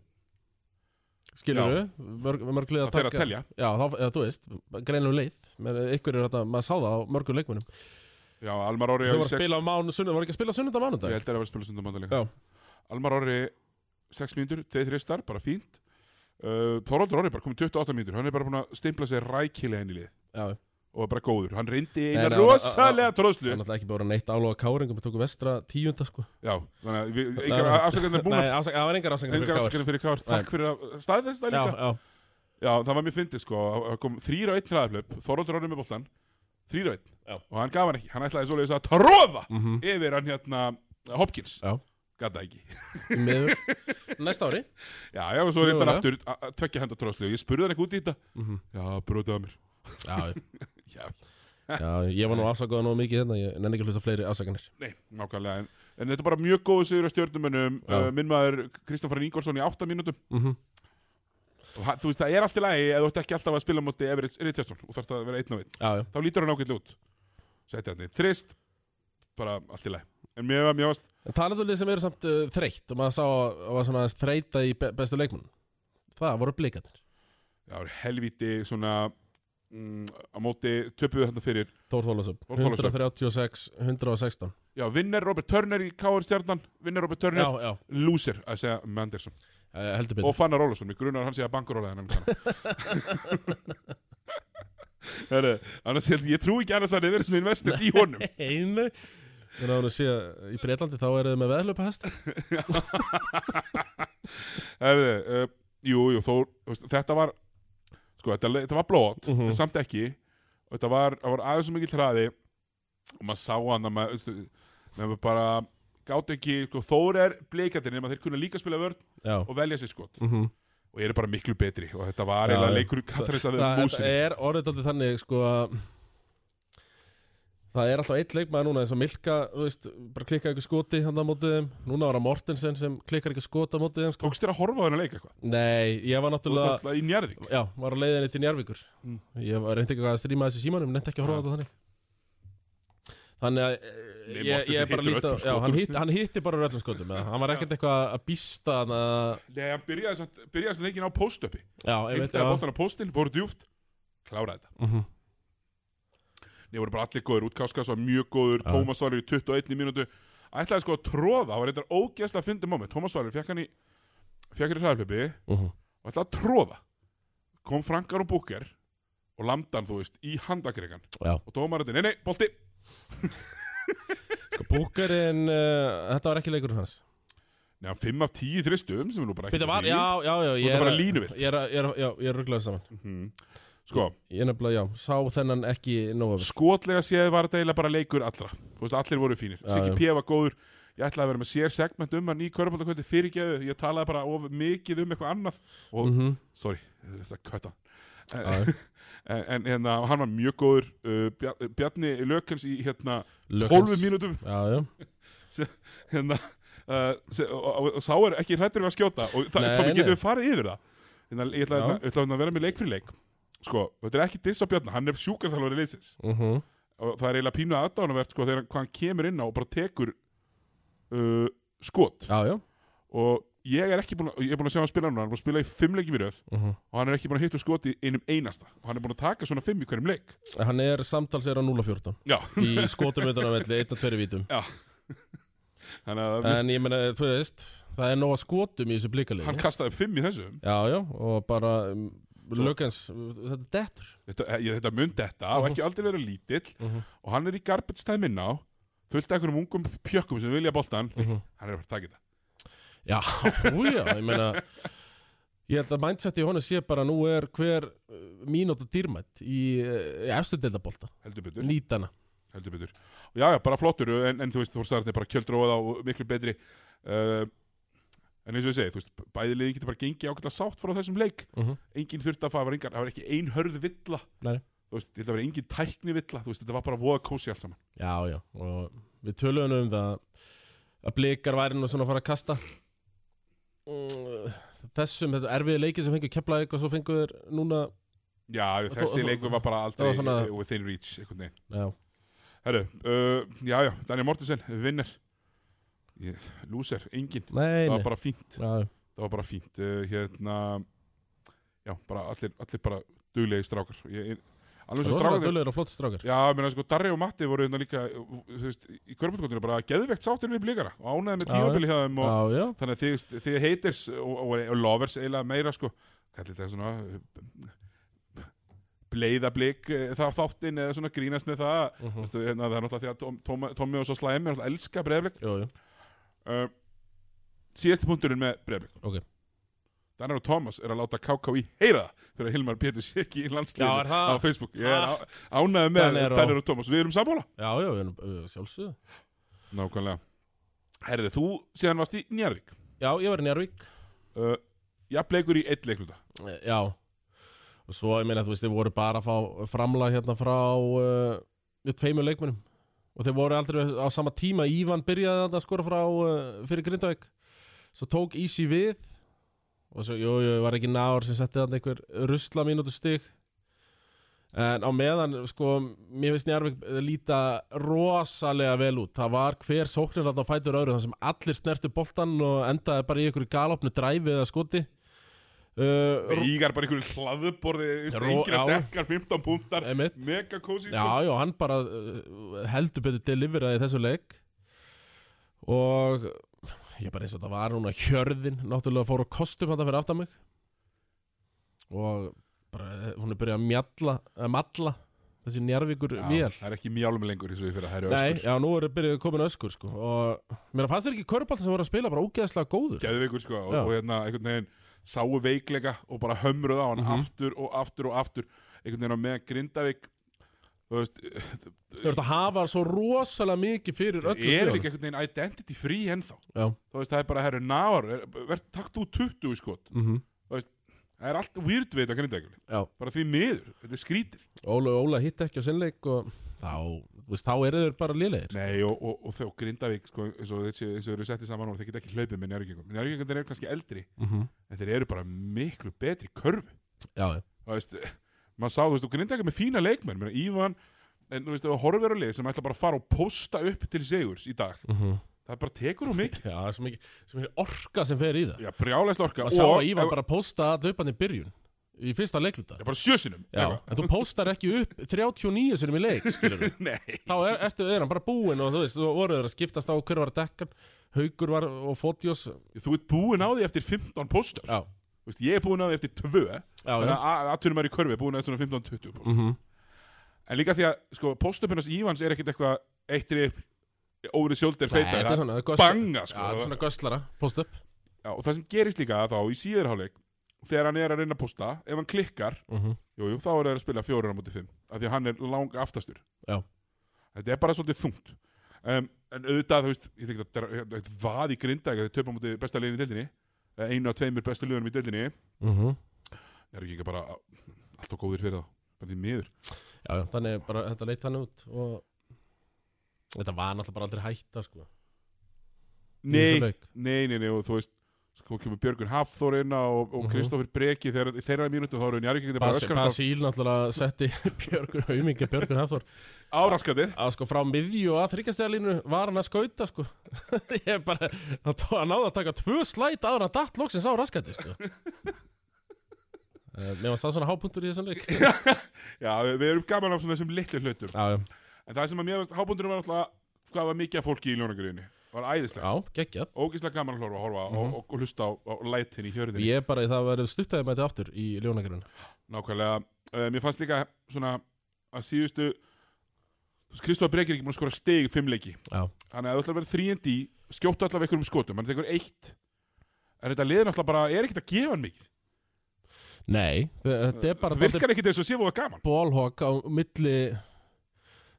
Speaker 2: Skilur við? Mörg, mörglið
Speaker 1: það
Speaker 2: að
Speaker 1: fer að
Speaker 2: taka
Speaker 1: telja
Speaker 2: Já, þá, eða, þú veist, greinlega leið Með ykkur er þetta, maður sá það á mörgum leikmunum
Speaker 1: já, Almar Orri á
Speaker 2: Sem var að
Speaker 1: sex-
Speaker 2: spila á mánu, sunnudag, var ekki að spila sunnudag á
Speaker 1: Ég
Speaker 2: mánudag
Speaker 1: held að það var að spila stundum
Speaker 2: Já.
Speaker 1: bandalega Almar Orri 6 mínútur, 2-3 star, bara fínt uh, Þorvaldur Orri bara komið 28 mínútur hann er bara búin að steimpla sér rækilega inn í lið
Speaker 2: Já,
Speaker 1: og var bara góður, hann reyndi
Speaker 2: Nei,
Speaker 1: eina
Speaker 2: nei,
Speaker 1: rosalega
Speaker 2: Það
Speaker 1: tróðslu
Speaker 2: er náttúrulega ekki bara neitt álofa káringum Við tóku vestra tíunda sko
Speaker 1: Já, þannig að við-
Speaker 2: Nei,
Speaker 1: engar
Speaker 2: nei.
Speaker 1: afsakarnir er búin
Speaker 2: Nei,
Speaker 1: að
Speaker 2: afsak, það var engar afsakar
Speaker 1: engar afsakarnir fyrir Kár,
Speaker 2: Nei.
Speaker 1: takk fyrir að staðfesta
Speaker 2: Já,
Speaker 1: líka
Speaker 2: já,
Speaker 1: Já, það var mjög fyndið sko, það kom þrýra og einn hraðaflöp Þorvaldur Orri með boltan, þrýra og
Speaker 2: Já.
Speaker 1: einn og hann gaf hann ekki, hann ætlaði svoleiðis að tróða
Speaker 2: mm -hmm.
Speaker 1: yfir hann hérna Hopkins,
Speaker 2: Já.
Speaker 1: gata ekki
Speaker 2: miður Næsta ári
Speaker 1: Já, já, og svo reyndar
Speaker 2: Mögulega.
Speaker 1: aftur a- a- tveggja handa tróðslu, ég spurði hann ekki út í þetta
Speaker 2: mm -hmm.
Speaker 1: Já, brótaði mér
Speaker 2: já, já.
Speaker 1: Já,
Speaker 2: já, ég var nú afsakað nú mikið hérna Ég nenni ekki að hlusta á fleiri afsakanir
Speaker 1: Nei, nákvæmlega en, en þetta er bara mjög góðu sigur á stjórnumönnum
Speaker 2: Já.
Speaker 1: uh, Minn maður Kristoffer Ingolson í 8 mínútum
Speaker 2: mm -hmm.
Speaker 1: og hann, Þú veist, það er allt í lagi eða þú ert ekki alltaf að spila móti Everett Richardson og þarf það að vera einn á einn
Speaker 2: Já, já,
Speaker 1: Þá lítur hann ákveðlega út Sætti hann í þrist Bara allt í lagi En mér var mjög ást
Speaker 2: en talandu lið sem eru samt uh, þreytt Og maður sá að að var svona aðeins þreyta í be bestu leikmunum Það voru blikarnir
Speaker 1: Það var helvíti svona mm, á móti töpuðu þarna fyrir
Speaker 2: Þór Þólasöp
Speaker 1: Þór Þórðarson.
Speaker 2: 136, 116
Speaker 1: Já, vinner Robert Turner í K.R. stjarnan vinner Robert
Speaker 2: Já,
Speaker 1: Turner,
Speaker 2: já,
Speaker 1: loser að segja með Anderson
Speaker 2: eh, heldur
Speaker 1: og
Speaker 2: betur
Speaker 1: Fannar Ólafsson, mér grunar að hann sé að bankaróla þennan um Herru, annars held ég, ég trú ekki annars að það er svona investið í honum
Speaker 2: Einu Þannig að hún sé að í Breitlandi þá eru þið með veðlöpahest
Speaker 1: Herru, uh, jú, jú, þó, þú veist, þetta var sko, þetta, þetta var blót
Speaker 2: Mhm.
Speaker 1: en samt ekki og þetta var, það var aðeins svo mikill hraði og maður sá hann að maður, þú veist, maður bara gátt ekki, sko, Þór er bleikandir nema þeir kunna líka spila vörn
Speaker 2: Já
Speaker 1: og velja sér skot
Speaker 2: mm
Speaker 1: og eru bara miklu betri og þetta var
Speaker 2: Já,
Speaker 1: eiginlega
Speaker 2: já.
Speaker 1: leikur Katarins að
Speaker 2: Það
Speaker 1: þeim
Speaker 2: þetta
Speaker 1: músinni
Speaker 2: er orðið alltaf þannig sko að Það er alltaf eitt leikmaður núna eins og Milka, þú veist, bara klikkar ekki skoti hann á mótið þeim. Núna var það Mortensen sem klikkar ekki skota á mótið þeim, sko.
Speaker 1: Tókst þér að horfa á þennan leik eitthvað?
Speaker 2: Nei, ég var
Speaker 1: Þú varst
Speaker 2: náttúrulega,
Speaker 1: alltaf í Njarðvík
Speaker 2: já, var á leiðinni til Njarvíkur.
Speaker 1: Mm.
Speaker 2: Ég var reyndi ekki að stríma þessi símanum, nefndi ekki að horfa
Speaker 1: Já.
Speaker 2: á þetta þannig. Þannig að eh,
Speaker 1: Nei,
Speaker 2: ég,
Speaker 1: Mortensen
Speaker 2: ég er bara að
Speaker 1: hittir
Speaker 2: líta,
Speaker 1: öllum
Speaker 2: já,
Speaker 1: skotum
Speaker 2: hann,
Speaker 1: sinni.
Speaker 2: hitt, hann hitti bara úr öllum skotum. eða. Hann var ekkert eitthvað að býsta hann að,
Speaker 1: Nei, hann byrjaði samt, byrjaði samt leikin á póstöpi
Speaker 2: já, ég veit
Speaker 1: Eindaði
Speaker 2: að,
Speaker 1: bóttan á póstin, fóru djúft Kláraði þetta
Speaker 2: Mhm.
Speaker 1: Nei, voru bara allir góður, útkáskas var mjög góður
Speaker 2: Já.
Speaker 1: Tómas var í 21 mínútu Ætlaði sko að tróða, það var eitthvað ógeðslega að fyndi moment Tómas Valur fekk hann í Fekk hann í hræðflöpi
Speaker 2: Mhm.
Speaker 1: og ætlaði að tróða Kom Frankar og Búker Og landan, þú veist, í handakregan
Speaker 2: já.
Speaker 1: Og tómarinn, nei, nei, bolti
Speaker 2: Búkarinn, uh, þetta var ekki leikurinn hans
Speaker 1: Nei, hann 5 af 10 í þristum sem er nú bara ekki
Speaker 2: Býta var,
Speaker 1: því.
Speaker 2: já, já, já
Speaker 1: Þú
Speaker 2: Ég
Speaker 1: ert að
Speaker 2: er
Speaker 1: fara línuvillt.
Speaker 2: Ég er, að- ég er, að- já, ég er rugglaði saman
Speaker 1: Mhm. Sko,
Speaker 2: Ég er nefnilega, já, sá þennan ekki nógu vel
Speaker 1: skotlega séð var þetta eiginlega bara leikur allra Þú veist, allir voru fínir,
Speaker 2: Já,
Speaker 1: Siggi
Speaker 2: já.
Speaker 1: P. var góður ég ætlaði að vera með sér segment um hann í Körbáldakvöldi fyrirgeðu, ég talaði bara of mikið um eitthvað annað og,
Speaker 2: Mhm,
Speaker 1: sorry, þetta kötta
Speaker 2: já,
Speaker 1: en,
Speaker 2: já.
Speaker 1: en hérna, hann var mjög góður uh, Bjar- Bjarni Lökens í hérna
Speaker 2: Lökens.
Speaker 1: 12 mínútum
Speaker 2: Já, já
Speaker 1: hérna, uh, se- og, og, og sá er ekki hrættur um að skjóta og það,
Speaker 2: Nei,
Speaker 1: Tómi,
Speaker 2: nei.
Speaker 1: getum við farið yfir það hérna, ég ætla
Speaker 2: Já.
Speaker 1: hérna- ég ætla hérna að vera með leik fyrir leik sko, þetta er ekki diss á Bjarni, hann er sjúkarþalvari liðsins
Speaker 2: mhm,
Speaker 1: og það er eiginlega pínu aðdánavert sko þegar hann- hvað hann kemur inn á og bara tekur uh, skot
Speaker 2: Já, já
Speaker 1: og ég er ekki búin að, ég er búin að sjá hann spila núna hann er búin að spila í fimm leikjum í röð
Speaker 2: mhm.
Speaker 1: og hann er ekki búin að hitta skot í einum einasta og hann er búin að taka svona fimm í hverjum leik
Speaker 2: Hann er samtals er á 0-14
Speaker 1: já,
Speaker 2: Í skotum utan að velli, 1-2 vítum
Speaker 1: þannig að
Speaker 2: En ég meina, þú veist Það er nóga skotum í þessu
Speaker 1: hann
Speaker 2: blíkalegi
Speaker 1: kastaði upp fimm í þessu
Speaker 2: Já, já, og bara um, Lökens, þetta er dettur
Speaker 1: þetta, ég, þetta mun þetta og ekki aldrei verið lítill og hann er í garbage time inn á fullt af einhverjum ungum pjökkum sem vilja boltan
Speaker 2: Mhm.
Speaker 1: hann er að fara að taka þetta
Speaker 2: Já, újá, ég meina Ég held að mindsetið í honum sé bara nú er hver uh, mínúta dýrmætt í, uh, í efstu deildabolta,
Speaker 1: heldur betur
Speaker 2: nýtana
Speaker 1: heldur betur og já, já, bara flottur en, en þú veist, Þór Sarðin er bara kjöldróða og miklu betri uh, en eins og ég segi, þú veist, bæði liðin getur bara gengið ákveðlega sátt frá þessum leik
Speaker 2: uh
Speaker 1: engin þurft að fara, það var engar- það var ekki ein hörð villa
Speaker 2: Nei.
Speaker 1: þú veist, þetta var engin tækni villa þú veist, þetta var bara voða kósi allt saman
Speaker 2: Já, já, og við töluðum um það að blikar væri nú svona að fara að kasta Mm, Þessum, þetta erfiði leikið sem fengur keplaðið og svo fengur þeir núna
Speaker 1: já, þessi
Speaker 2: þó-
Speaker 1: leikur var bara
Speaker 2: það
Speaker 1: aldrei
Speaker 2: var svona-
Speaker 1: eh, within reach, einhvern veginn
Speaker 2: Já,
Speaker 1: herru, uh, já, já, Daniel Mortensen, vinner Ég- loser, engin
Speaker 2: nei,
Speaker 1: það
Speaker 2: nei
Speaker 1: var bara fínt
Speaker 2: Já, já.
Speaker 1: það var bara fínt uh, hérna já, bara allir, allir bara duglegi strákar ég, alveg svo
Speaker 2: rosalega
Speaker 1: strákar
Speaker 2: dölur og flott strákar
Speaker 1: já, menn sko Darri og Matti voru hérna líka uh, þú veist, í körbundkotinu bara geðvegt sáttir við blíkara og ánæði með
Speaker 2: Já, já.
Speaker 1: tímabili hjá þeim og
Speaker 2: Já, já,
Speaker 1: þannig að þið, þið heiters og, og, og lovers eiginlega meira sko kallir þetta svona uh, bleiðablík þá eh, þáttinn eða svona grínast með það
Speaker 2: uh
Speaker 1: mm. Vistu, hérna, það er náttúrulega því að Tom- Tom- Tommi og svo Slæmi náttúrulega elska breyðablík
Speaker 2: jú, jú.
Speaker 1: uh, síðasti punkturinn með Breiðblik
Speaker 2: Ok.
Speaker 1: Danar og Thomas er að láta KKÍ heyra það fyrir að Hilmar Pétur sé ekki í
Speaker 2: Já, er
Speaker 1: landsliðinu
Speaker 2: það?
Speaker 1: á Facebook ég er ánæði með
Speaker 2: Danir og-
Speaker 1: Danar og Thomas við erum sammála
Speaker 2: já, já, við erum, uh, sjálfsögðu
Speaker 1: nákvæmlega herðið þú síðan varst í Njarðvík
Speaker 2: Já, ég var í Njárvík
Speaker 1: uh, jafnleikur í eitt leikluta
Speaker 2: Eh, Já Og svo ég meina þú veist þeir voru bara að fá framlag hérna frá uh, tveimur leikmennum og þeir voru aldrei á sama tíma Ívan byrjaði þarna að skora frá uh, fyrir Grindavík svo tók Ísi við og svo, jú, jú, var ekki náður sem setti þarna einhver rusla mínútu stig en á meðan, sko, mér finnst Njarvík líta rosalega vel út það var hver sóknir þarna á fætur öðru þar sem allir snertu boltan og endaði bara í einhverju galopnu dræfi eða skoti uh,
Speaker 1: Ígar bara einhverju hlaðuborði
Speaker 2: Ró-
Speaker 1: Stengir að
Speaker 2: já.
Speaker 1: dekkar 15 púntar
Speaker 2: Einmitt.
Speaker 1: Mega sko. kósi
Speaker 2: Já, já, hann bara uh, heldur betur deliveraði þessu leik og ég bara eins og þetta var núna hjörðin náttúrulega fór á kostum hann fyrir aftan mig og bara eh, hún er byrjað að mjalla að malla þessi njárvíkur vél
Speaker 1: Það er ekki mjálmi lengur eins og ég fyrir að það eru
Speaker 2: Nei,
Speaker 1: öskur
Speaker 2: já, nú er byrjuð komin öskur sko og mér fannst þér ekki körbalt sem voru að spila bara ógeðslega góður
Speaker 1: Geðveikur sko og,
Speaker 2: Já.
Speaker 1: og hérna einhvern veginn sáu veikleika og bara hömruð á hann
Speaker 2: Mhm.
Speaker 1: aftur og aftur og aftur einhvern veginn á meðan Grindavík þú veist,
Speaker 2: Þú ert að hafa svo rosalega mikið fyrir öllu
Speaker 1: er
Speaker 2: stöðunum.
Speaker 1: ekki einhvern veginn identity free ennþá
Speaker 2: Já,
Speaker 1: þú veist það er bara herru návar verð takt úr 20 skot
Speaker 2: mhm,
Speaker 1: það er allt weird við þetta Grindavík
Speaker 2: já
Speaker 1: bara því miður þetta er skrítið
Speaker 2: Óla, Óla hitt ekki á sinnleik og þá, þú veist, þá eru þeir bara lélegir
Speaker 1: Nei og, og, og þau Grindavík sko, eins og þeir séu- eins og þeir eru settið saman og þeir geta ekki hlaupið með njárvíkingum njárvíkingum þeir eru kannski eldri
Speaker 2: Mhm.
Speaker 1: en þeir eru bara miklu betri í körfu
Speaker 2: Já, já.
Speaker 1: Þú veist, maður sá, þú veist, og Grindavík er með fína leikmenn meina, Ívan, en þú veist, og horfir á lið sem ætla bara að fara og posta upp til sigurs í dag,
Speaker 2: Mm -hmm.
Speaker 1: það bara tekur hún mikið
Speaker 2: Já, það er svo mikið, svo mikið orka sem fer í það
Speaker 1: já, brjálæst orka
Speaker 2: Og sá að
Speaker 1: og-
Speaker 2: Ívan
Speaker 1: ef-
Speaker 2: bara posta að laupan í byrjun Í fyrsta leikluta
Speaker 1: já, bara sjösinum
Speaker 2: Já, en þú postar ekki upp 39 sinum í leik, skilur við
Speaker 1: nei,
Speaker 2: Þá er, ertu, er hann bara búinn og þú veist, þú voru þeir að skiptast á hver var dekkan Haukur var og Fotjós
Speaker 1: þú ert búin á því eftir 15 postar
Speaker 2: Já,
Speaker 1: Þú veist, ég er búin á því eftir 2
Speaker 2: já,
Speaker 1: þannig
Speaker 2: já
Speaker 1: að aðtunum er í körfi, búin á því svona 15-20 post
Speaker 2: Mhm.
Speaker 1: en líka því að, sko, postupinast Ívans er ekkit eitthvað eittrið órið sjóldir
Speaker 2: Nei,
Speaker 1: feita,
Speaker 2: þetta er svona gösla-
Speaker 1: banga,
Speaker 2: Já, þetta er
Speaker 1: sko
Speaker 2: svona göslara, post upp
Speaker 1: já, og það sem gerist líka þá í síðurháleik þegar hann er að reyna að posta, ef hann klikkar
Speaker 2: Mhm.
Speaker 1: Jú, jú, þá er það að spila fjórar á móti fimm af því að hann er lang aftastur
Speaker 2: Já.
Speaker 1: Þetta er bara svolítið þungt um, En auðvitað, þú veist, ég þekki að þetta er vað í grinda þegar þeir töpa móti besta liðin í deildinni eða einu af tveimur bestu liðunum í deildinni
Speaker 2: Mhm.
Speaker 1: Það eru ekki bara alltaf góðir fyrir þá bara því miður
Speaker 2: Já, já, þannig bara þetta leit þannig út og Þetta var náttúrulega bara aldrei hætta, sko í þessum
Speaker 1: Nei,
Speaker 2: leik.
Speaker 1: nei, nei, nei, og þú veist sko kemur Björgun Hafþór inn á og, og
Speaker 2: Mhm.
Speaker 1: Kristoffer Breki þegar þeirra mínútu þá eru Njarvíkingin bara
Speaker 2: Basíl,
Speaker 1: öskrandi
Speaker 2: Basíl náttúrulega setti Björgur Haumingja, Björgur Hafþór
Speaker 1: á áraskandi
Speaker 2: að sko frá miðju og að þryggjastæðalínu var hann að skauta sko ég bara, hann, tó, hann náði að taka tvö slæt ára datt loksins á raskætti sko Eh, mér varst það svona hápunktur í þessum leik já,
Speaker 1: Já, við, við erum gaman af svona þessum litlu hlutum
Speaker 2: já,
Speaker 1: En það sem að mér veist, hábúndurinn var alltaf hvað var mikið af fólki í ljónagriðinni var æðislega,
Speaker 2: já geggjað
Speaker 1: ógislega gaman að horfa, horfa
Speaker 2: Mhm.
Speaker 1: mm og, og hlusta á, á lætin í hjörðinni
Speaker 2: ég bara, það verið stuttaði með þetta aftur í ljónagrun
Speaker 1: nákvæmlega, uh, mér fannst líka svona að síðustu Kristof Brekir er ekki búin að skora stig í fimm leiki,
Speaker 2: já,
Speaker 1: þannig að það ætla að vera þríendi skjóttu allavega einhverjum skotum, hann tekur eitt en þetta liðin alltaf bara er ekkert að gefa hann mikið,
Speaker 2: nei, þe- þetta er bara
Speaker 1: það virkar ekkert eins og sé fóða gaman
Speaker 2: bólhók á milli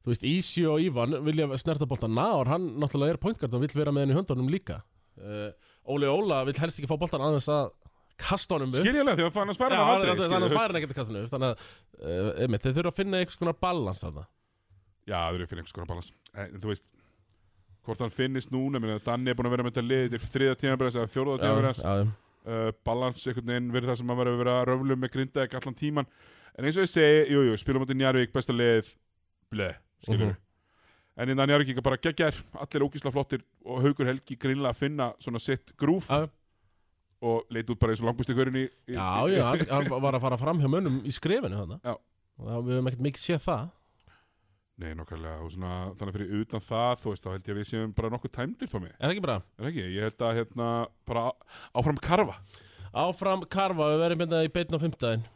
Speaker 2: þú veist, Ísi og Ívan vilja snerta boltan náður, hann náttúrulega er pointgard og vill vera með henni í höndunum líka uh, Óli Óla vill helst ekki fá boltan aðeins að kasta honum upp
Speaker 1: skiljaðlega því að annars færa
Speaker 2: Já,
Speaker 1: hann
Speaker 2: þannig
Speaker 1: aldrei skilurðu,
Speaker 2: að þannig að
Speaker 1: þú veist.
Speaker 2: svarin ekkert að kastinu Þannig að, uh, einmitt, þeir þurfa að finna einhvers konar balans þarna
Speaker 1: Já, það eru að finna einhvers konar balans En en þú veist, hvort hann finnist núna minna, Danni er búin að vera með þetta lið til þriða tímabrins eða fjóruða tímabrins
Speaker 2: já, já,
Speaker 1: uh, Balans einhvern veginn verið það sem hann verið að vera að röflum með grindaðið allan tíman En eins og ég segi, jú, jú, spilum átti Njarvík besta lið, bleð, skilur við
Speaker 2: Mhm.
Speaker 1: En innan Njarvík er bara geggjær, allir ógísla flottir og Haukur Helgi greinlega að finna svona sitt grúf
Speaker 2: já,
Speaker 1: og leit út bara eins og langbústi hverjun í, í,
Speaker 2: já,
Speaker 1: í-
Speaker 2: já hann, hann var að fara fram hjá mönnum í skrefinu þarna
Speaker 1: Já.
Speaker 2: Og það- við höfum ekkert mikið séð það
Speaker 1: Nei, nokkarlega, og svona, þannig að fyrir utan það, þú veist, þá held ég að við séum bara nokkuð tæmdir Tommy.
Speaker 2: Er það ekki bara
Speaker 1: Er það ekki? Ég held að hérna bara á- áfram karfa.
Speaker 2: áfram karfa, við verðum hérna í beitn á fimmtæðin